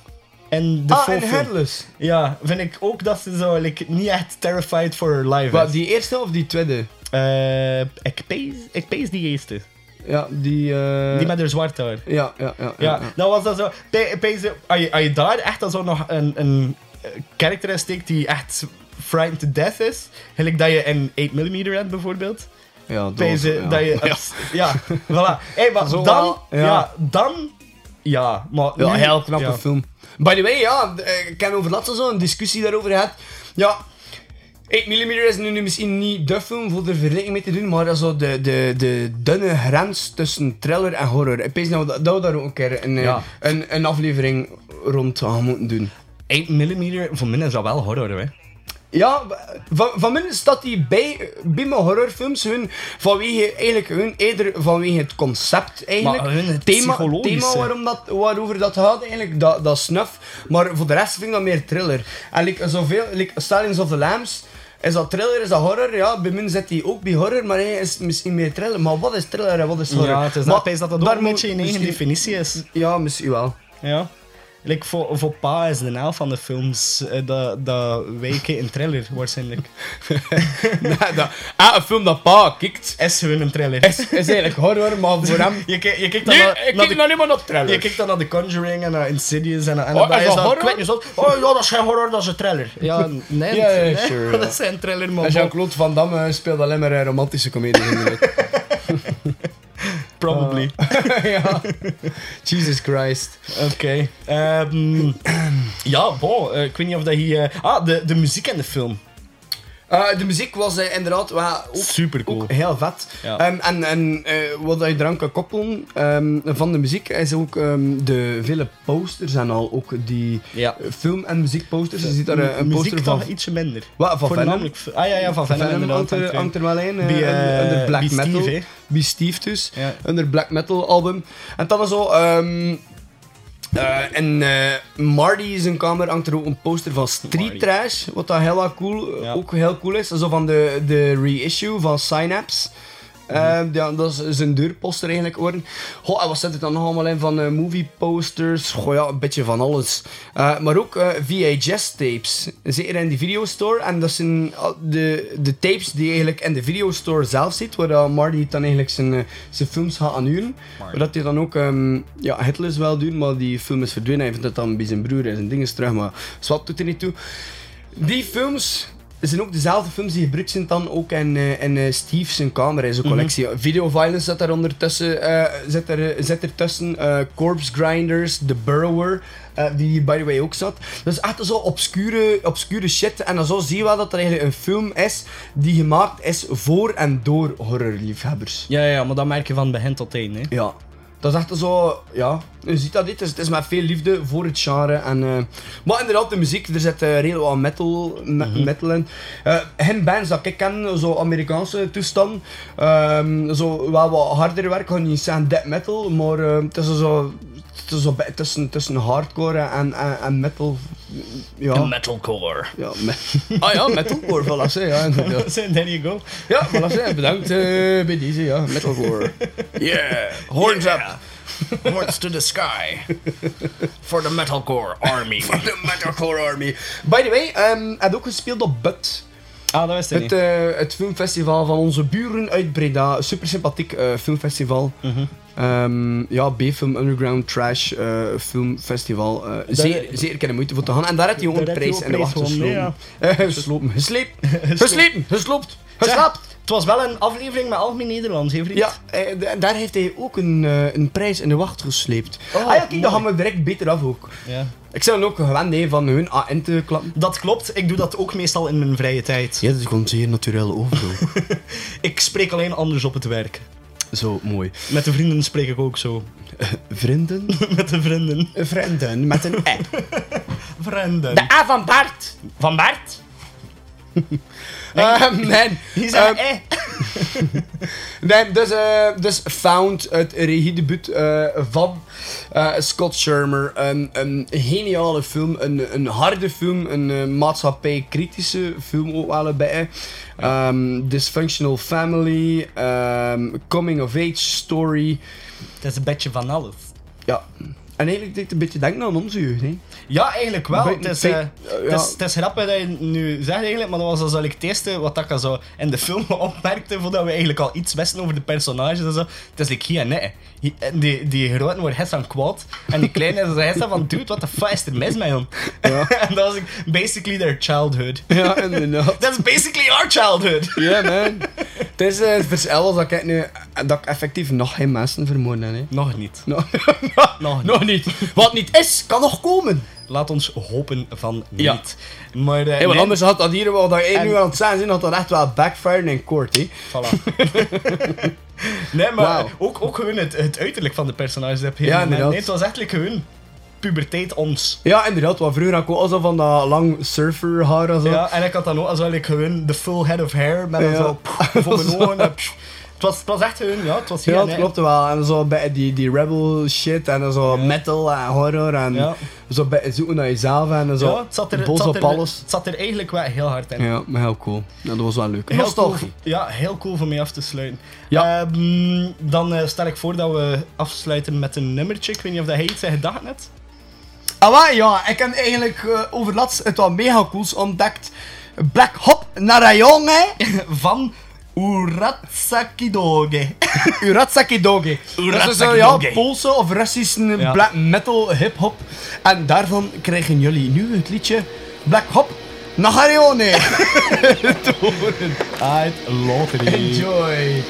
[SPEAKER 2] En de
[SPEAKER 1] ah,
[SPEAKER 2] full
[SPEAKER 1] en
[SPEAKER 2] film.
[SPEAKER 1] Headless.
[SPEAKER 2] Ja, vind ik ook dat ze zo like, niet echt terrified for her life
[SPEAKER 1] Wat,
[SPEAKER 2] is.
[SPEAKER 1] die eerste of die tweede?
[SPEAKER 2] Eh, ik pees ik pees die eerste.
[SPEAKER 1] Ja, die... eh,
[SPEAKER 2] die met haar zwart haar.
[SPEAKER 1] Ja, ja, ja.
[SPEAKER 2] Ja, dat was dat zo. Pe- Pees, als je- als je daar echt dan zo nog een, een eh, character in steekt die echt frightened to death is, gelijk dat je in 8mm hebt bijvoorbeeld.
[SPEAKER 1] Ja, dat
[SPEAKER 2] Pees,
[SPEAKER 1] was-
[SPEAKER 2] eh,
[SPEAKER 1] ja.
[SPEAKER 2] dat je...
[SPEAKER 1] Ja.
[SPEAKER 2] Ja, voilà. Hey, maar
[SPEAKER 1] Zo
[SPEAKER 2] dan...
[SPEAKER 1] wel,
[SPEAKER 2] Ja.
[SPEAKER 1] ja.
[SPEAKER 2] dan... Ja, maar
[SPEAKER 1] Ja,
[SPEAKER 2] nu-
[SPEAKER 1] heel knappe
[SPEAKER 2] ja.
[SPEAKER 1] film. By the way, ja, eh, ik heb over laatst zo een discussie daarover gehad. Ja, 8mm is nu, nu misschien niet de film voor de vergelijking mee te doen, maar dat is zo de, de, de dunne grens tussen thriller en horror. Ik denk dat, we- dat we daar ook een keer een, eh,
[SPEAKER 2] Ja.
[SPEAKER 1] een, een aflevering rond gaan moeten doen.
[SPEAKER 2] 8mm, voor mij is dat wel horror, hè.
[SPEAKER 1] Ja, van, van min staat die bij, bij mijn horrorfilms hun vanwege, eigenlijk hun eerder vanwege het concept eigenlijk.
[SPEAKER 2] Maar hun het
[SPEAKER 1] thema,
[SPEAKER 2] psychologische.
[SPEAKER 1] thema waarom dat, waarover dat gaat eigenlijk, dat, dat snuf. Maar voor de rest vind ik dat meer thriller. En like, zoveel, like Stallions of the Lambs, is dat thriller, is dat horror? Ja, bij min zit die ook bij horror, maar hij is misschien meer thriller. Maar wat is thriller en wat is horror?
[SPEAKER 2] Ja, het is
[SPEAKER 1] maar,
[SPEAKER 2] dat, Pees, dat dat ook
[SPEAKER 1] daar
[SPEAKER 2] een
[SPEAKER 1] moet-
[SPEAKER 2] beetje in eigen
[SPEAKER 1] misschien-
[SPEAKER 2] definitie is.
[SPEAKER 1] Ja, misschien wel.
[SPEAKER 2] Ja. Like, voor, voor pa is de naam van de films eh, dat, dat wijken in thriller, waarschijnlijk.
[SPEAKER 1] ah, een film dat pa kikt.
[SPEAKER 2] Is gewoon een thriller.
[SPEAKER 1] Is eigenlijk horror, maar voor hem...
[SPEAKER 2] Je, ki- je kijkt dan
[SPEAKER 1] Nee,
[SPEAKER 2] naar,
[SPEAKER 1] ik
[SPEAKER 2] naar
[SPEAKER 1] kijk nou niet meer naar
[SPEAKER 2] de,
[SPEAKER 1] thriller.
[SPEAKER 2] je kijkt dan naar The Conjuring en naar Insidious en naar
[SPEAKER 1] is
[SPEAKER 2] Annabelle.
[SPEAKER 1] dat
[SPEAKER 2] dan
[SPEAKER 1] horror?
[SPEAKER 2] kwijt je zo, Oh ja, dat is geen horror, dat is een thriller. Ja, nee.
[SPEAKER 1] Ja, ja,
[SPEAKER 2] nee,
[SPEAKER 1] sure, ja.
[SPEAKER 2] Dat is geen thriller,
[SPEAKER 1] En
[SPEAKER 2] maar bon,
[SPEAKER 1] Jean-Claude Van Damme eh, speelt alleen maar eh, romantische comedies in de week. Ah.
[SPEAKER 2] probably.
[SPEAKER 1] ja. Jesus Christ.
[SPEAKER 2] Oké. Ehm, ja, bon. eh, ik weet niet of dat hier... eh, ah, de, de muziek in de film.
[SPEAKER 1] Eh, de muziek was eh, inderdaad wel ook,
[SPEAKER 2] Super cool.
[SPEAKER 1] ook heel vet.
[SPEAKER 2] Ja.
[SPEAKER 1] Ehm, en en eh, wat je eraan kan koppelen ehm, van de muziek is ook ehm, de vele posters en al. Ook die
[SPEAKER 2] Ja.
[SPEAKER 1] eh, film- en muziekposters. Je ziet daar eh, een
[SPEAKER 2] muziek
[SPEAKER 1] poster van,
[SPEAKER 2] toch ietsje minder.
[SPEAKER 1] Wat, van Venom.
[SPEAKER 2] Voornamelijk... v- Ah ja, ja, van Venom,
[SPEAKER 1] Venom
[SPEAKER 2] inderdaad.
[SPEAKER 1] hangt er-
[SPEAKER 2] dat
[SPEAKER 1] hangt er wel in. eh,
[SPEAKER 2] Bij, eh,
[SPEAKER 1] onder black
[SPEAKER 2] bij Steve,
[SPEAKER 1] metal.
[SPEAKER 2] hè.
[SPEAKER 1] Bij Steve dus.
[SPEAKER 2] Ja.
[SPEAKER 1] Onder black metal album. En dan zo. ehm eh, in eh, Marty zijn kamer hangt er ook een poster van Street
[SPEAKER 2] Marty.
[SPEAKER 1] Trash, wat dat heel erg cool,
[SPEAKER 2] Ja.
[SPEAKER 1] ook heel cool is. Zo van de, de reissue van Synapse. Eh, ja, dat is zijn deurposter eigenlijk geworden. Goh, en wat zit er dan nog allemaal in van eh, movieposters? Goh ja, een beetje van alles. Eh, maar ook eh, VHS-tapes. Zeker in die videostore. En dat zijn al de, de tapes die je eigenlijk in de videostore zelf zit. Waar dat Marty dan eigenlijk zijn, eh, zijn films gaat aanhuren. Waar dat hij dan ook ehm ja, Hitler's wel doet, maar die film is verdwenen. Hij vindt dat dan bij zijn broer en zijn dingen terug. Maar zwart doet er niet toe. Die films zijn ook dezelfde films die gebruikt zijn dan ook in, eh, in eh, Steve zijn kamer, in zijn collectie. Video Violence zit daar ondertussen, eh zit, er, eh, zit ertussen. eh, Corpse Grinders, The Burrower, eh, die hier by the way ook zat. Dus echt zo obscure, obscure shit. En dan zo zie je wel dat er eigenlijk een film is die gemaakt is voor en door horrorliefhebbers.
[SPEAKER 2] Ja, ja, maar dat merk je van begin tot eind, hè.
[SPEAKER 1] Ja. Dat is echt zo, ja, je ziet dat dit, is, het is met veel liefde voor het genre. En, eh, maar inderdaad, de muziek, er zit eh, redelijk wat metal, me- metal in. Eh geen bands dat ik ken, zo Amerikaanse toestand, ehm, zo wel wat harder werk, ik ga niet zeggen death metal, maar eh, het is zo, het is zo bij- tussen, tussen hardcore en, en, en metal. Ja,
[SPEAKER 2] Metalcore.
[SPEAKER 1] ja, me- ah ja, metalcore, voilà, zeg, ja, inderdaad.
[SPEAKER 2] So there you go.
[SPEAKER 1] Ja, voilà, zeg, bedankt eh, bij deze, ja, metalcore.
[SPEAKER 3] Yeah.
[SPEAKER 1] Horns up.
[SPEAKER 3] Horns to the sky.
[SPEAKER 2] For the metalcore army.
[SPEAKER 1] De Metalcore Army. By the way, ehm had ook gespeeld op Bud.
[SPEAKER 2] ah, dat was het
[SPEAKER 1] Het,
[SPEAKER 2] niet.
[SPEAKER 1] eh, het filmfestival van onze buren uit Breda. Een Super sympathiek eh, filmfestival. Ehm, ja, B-film Underground Trash eh, Filmfestival. Eh, zeer, zeer kennen moeite voor te gaan. En daar had hij ook een
[SPEAKER 2] Daar had hij
[SPEAKER 1] prijs
[SPEAKER 2] ook
[SPEAKER 1] in de
[SPEAKER 2] een
[SPEAKER 1] wacht
[SPEAKER 2] prijs
[SPEAKER 1] geslopen.
[SPEAKER 2] gewonnen,
[SPEAKER 1] Eh, geslopen. Gesleept. Geslepen. Gesloopt. Geslaapt.
[SPEAKER 2] Het was wel een aflevering met Algemeen Nederlands, hè, vriend?
[SPEAKER 1] Ja, eh, d- daar heeft hij ook een, eh, een prijs in de wacht gesleept. ah ja, kijk,
[SPEAKER 2] mooi.
[SPEAKER 1] dan gaan we direct beter af ook.
[SPEAKER 2] Ja.
[SPEAKER 1] Ik zou hem ook gewend hè, van hun AN te klappen.
[SPEAKER 2] Dat klopt, ik doe dat ook meestal in mijn vrije tijd.
[SPEAKER 1] Ja, dat komt zeer natuurlijk over ook.
[SPEAKER 2] Ik spreek alleen anders op het werk.
[SPEAKER 1] Zo mooi.
[SPEAKER 2] Met de vrienden spreek ik ook zo.
[SPEAKER 1] Vrienden?
[SPEAKER 2] Met de vrienden.
[SPEAKER 1] Eh, Vrienden met een app.
[SPEAKER 2] Vrienden.
[SPEAKER 1] A van Bart.
[SPEAKER 2] Van Bart?
[SPEAKER 1] Ehm, nee.
[SPEAKER 2] Die zei,
[SPEAKER 1] Ehm,
[SPEAKER 2] eh.
[SPEAKER 1] nee, dus, eh, dus Found, het regiedebuut eh van eh, Scott Shermer. Een, een geniale film, een, een harde film, een eh, maatschappij-kritische film ook wel bij. Ehm, dysfunctional Family, ehm, Coming of Age Story.
[SPEAKER 2] Dat is een beetje van alles.
[SPEAKER 1] Ja. En eigenlijk deed het een beetje denken aan onze jeugd, hè?
[SPEAKER 2] Ja, eigenlijk wel.
[SPEAKER 1] Bij-
[SPEAKER 2] Het is,
[SPEAKER 1] bij-
[SPEAKER 2] eh,
[SPEAKER 1] ja.
[SPEAKER 2] het, is, het is grappig dat je nu zegt eigenlijk, maar dat was dus eigenlijk het eerste wat ik al zo in de film opmerkte, voordat we eigenlijk al iets wisten over de personages en zo. Het is like hier en nee. Hier- en eh, Die, die grote wordt het aan kwaad en die kleine is het van dude, what the fuck is er mis met hem? en dat was like, basically their childhood.
[SPEAKER 1] Ja, inderdaad.
[SPEAKER 2] That's basically our childhood.
[SPEAKER 1] Ja, man. Het is eh, het verschil was dat ik nu dat ik effectief nog geen mensen vermoord heb. Hè.
[SPEAKER 2] Nog niet.
[SPEAKER 1] Nog,
[SPEAKER 2] Nog niet.
[SPEAKER 1] nog niet. Wat niet is, kan nog komen.
[SPEAKER 2] Laat ons hopen van niet.
[SPEAKER 1] Ja.
[SPEAKER 2] Maar, eh,
[SPEAKER 1] Hey, want
[SPEAKER 2] nee,
[SPEAKER 1] anders had dat hier wel dat één
[SPEAKER 2] En-
[SPEAKER 1] nu aan het zijn zin had dat echt wel backfire in kort. Hè.
[SPEAKER 2] Voilà. nee, maar
[SPEAKER 1] Wauw.
[SPEAKER 2] ook, ook gewoon het, het uiterlijk van de personages heb je.
[SPEAKER 1] Ja,
[SPEAKER 2] nee,
[SPEAKER 1] inderdaad.
[SPEAKER 2] het was eigenlijk gewoon puberteit ons.
[SPEAKER 1] Ja, inderdaad. Wat vroeger had ik ook al zo van dat lang surfer haar en zo.
[SPEAKER 2] Ja, en ik had dan ook als wel ik gewoon de full head of hair met een
[SPEAKER 1] Ja.
[SPEAKER 2] zo pff, voor mijn ogen. en pff. Het was, het was echt gewoon, ja, het was hier.
[SPEAKER 1] Ja,
[SPEAKER 2] en
[SPEAKER 1] dat
[SPEAKER 2] daar.
[SPEAKER 1] klopt wel. En zo bij die, die rebel shit en dan zo metal en horror en
[SPEAKER 2] Ja.
[SPEAKER 1] zo bij zoeken naar jezelf en dan zo
[SPEAKER 2] Ja, het zat er, het
[SPEAKER 1] boos
[SPEAKER 2] zat
[SPEAKER 1] op
[SPEAKER 2] er,
[SPEAKER 1] alles.
[SPEAKER 2] Het zat er eigenlijk wel heel hard in.
[SPEAKER 1] Ja, maar heel cool. Ja, dat was wel leuk.
[SPEAKER 2] Heel cool,
[SPEAKER 1] Nostalgie.
[SPEAKER 2] ja, heel cool voor mij af te sluiten.
[SPEAKER 1] Ja.
[SPEAKER 2] Ehm, dan eh, stel ik voor dat we afsluiten met een nummertje. Ik weet niet of dat hij iets zei gedacht net.
[SPEAKER 1] Ah, maar ja, ik heb eigenlijk eh overlast het wat mega cools ontdekt. Black Hop Narayonge
[SPEAKER 2] Van Uratsakidoge.
[SPEAKER 1] Uratsaki Doge. Dat is een ja,
[SPEAKER 2] Uratsakidoge.
[SPEAKER 1] Poolse of Russische
[SPEAKER 2] Ja.
[SPEAKER 1] black metal hip-hop. En daarvan krijgen jullie nu het liedje Black Hop Narayone.
[SPEAKER 2] Uit Lottery.
[SPEAKER 1] Enjoy.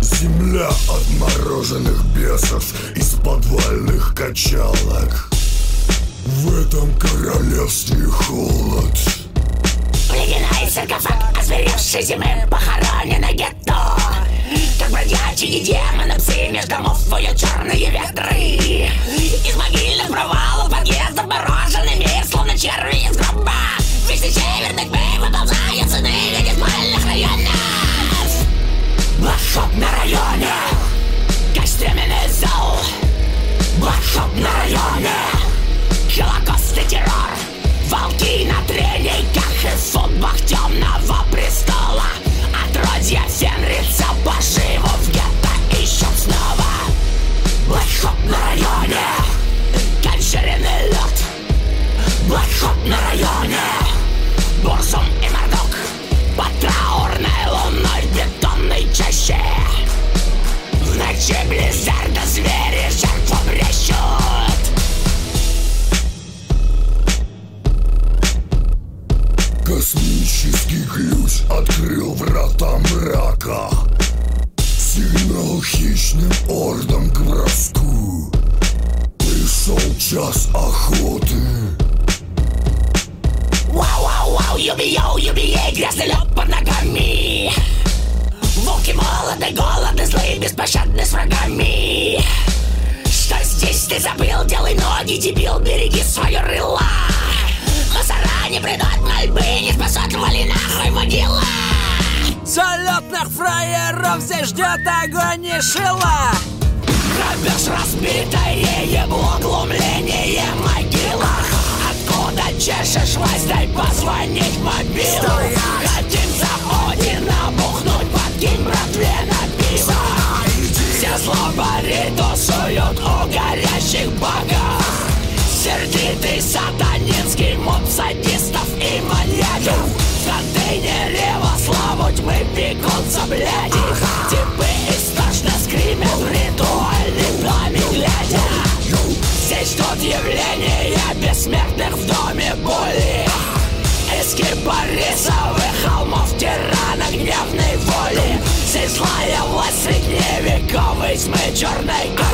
[SPEAKER 10] Земля отмороженных бесов из подвальных качалок. В этом королевстве холод.
[SPEAKER 11] Ледяной саркофаг, озверевший зимы, похоронено гетто Как бродячие демоны, псы между домов воют черные ветры Из могильных провалов подъездов мороженый мир, словно черви из гроба Вместе северных бей выползают сыны нежмальных районов Блэкшоп на районе, костременный зал Блэкшоп на районе, Холокост и террор Волки на трениках и в футбах темного престола Отродья Фенрица поживу в гетто ищут снова Блэкшоп на районе Кончаренный лед Блэкшоп на районе Бурзум и Мордок По траурной лунной бетонной чаще В ночи Близзарда звери жертву брещут
[SPEAKER 10] Космический ключ. страшным ордом к броску Пришел час охоты
[SPEAKER 11] Вау, вау, вау, юби, йоу, юби, ей, грязный лед под ногами Волки молоды, голодны, злые, беспощадны с врагами Что здесь ты забыл, делай ноги, дебил, береги свое рыло Мусора не придут мольбы, не спасут, вали нахуй могила
[SPEAKER 12] Салютных фраеров здесь ждет огонь и шила
[SPEAKER 11] Грабеж разбитое, углумление могила Откуда чешешь власть, дай позвонить мобилу Хотим за Одина бухнуть, подкинь братве на пиво Все злобари тусуют у горящих богов Сердитый сатанинский моб садистов и маньяков В контейнере во славу тьмы пекутся бляди Типы истошно скримят в ритуальный пламень глядя Здесь ждут явления бессмертных в доме боли Из кипарисовых холмов тирана гневной воли Здесь злая власть средневековой тьмы черной кожи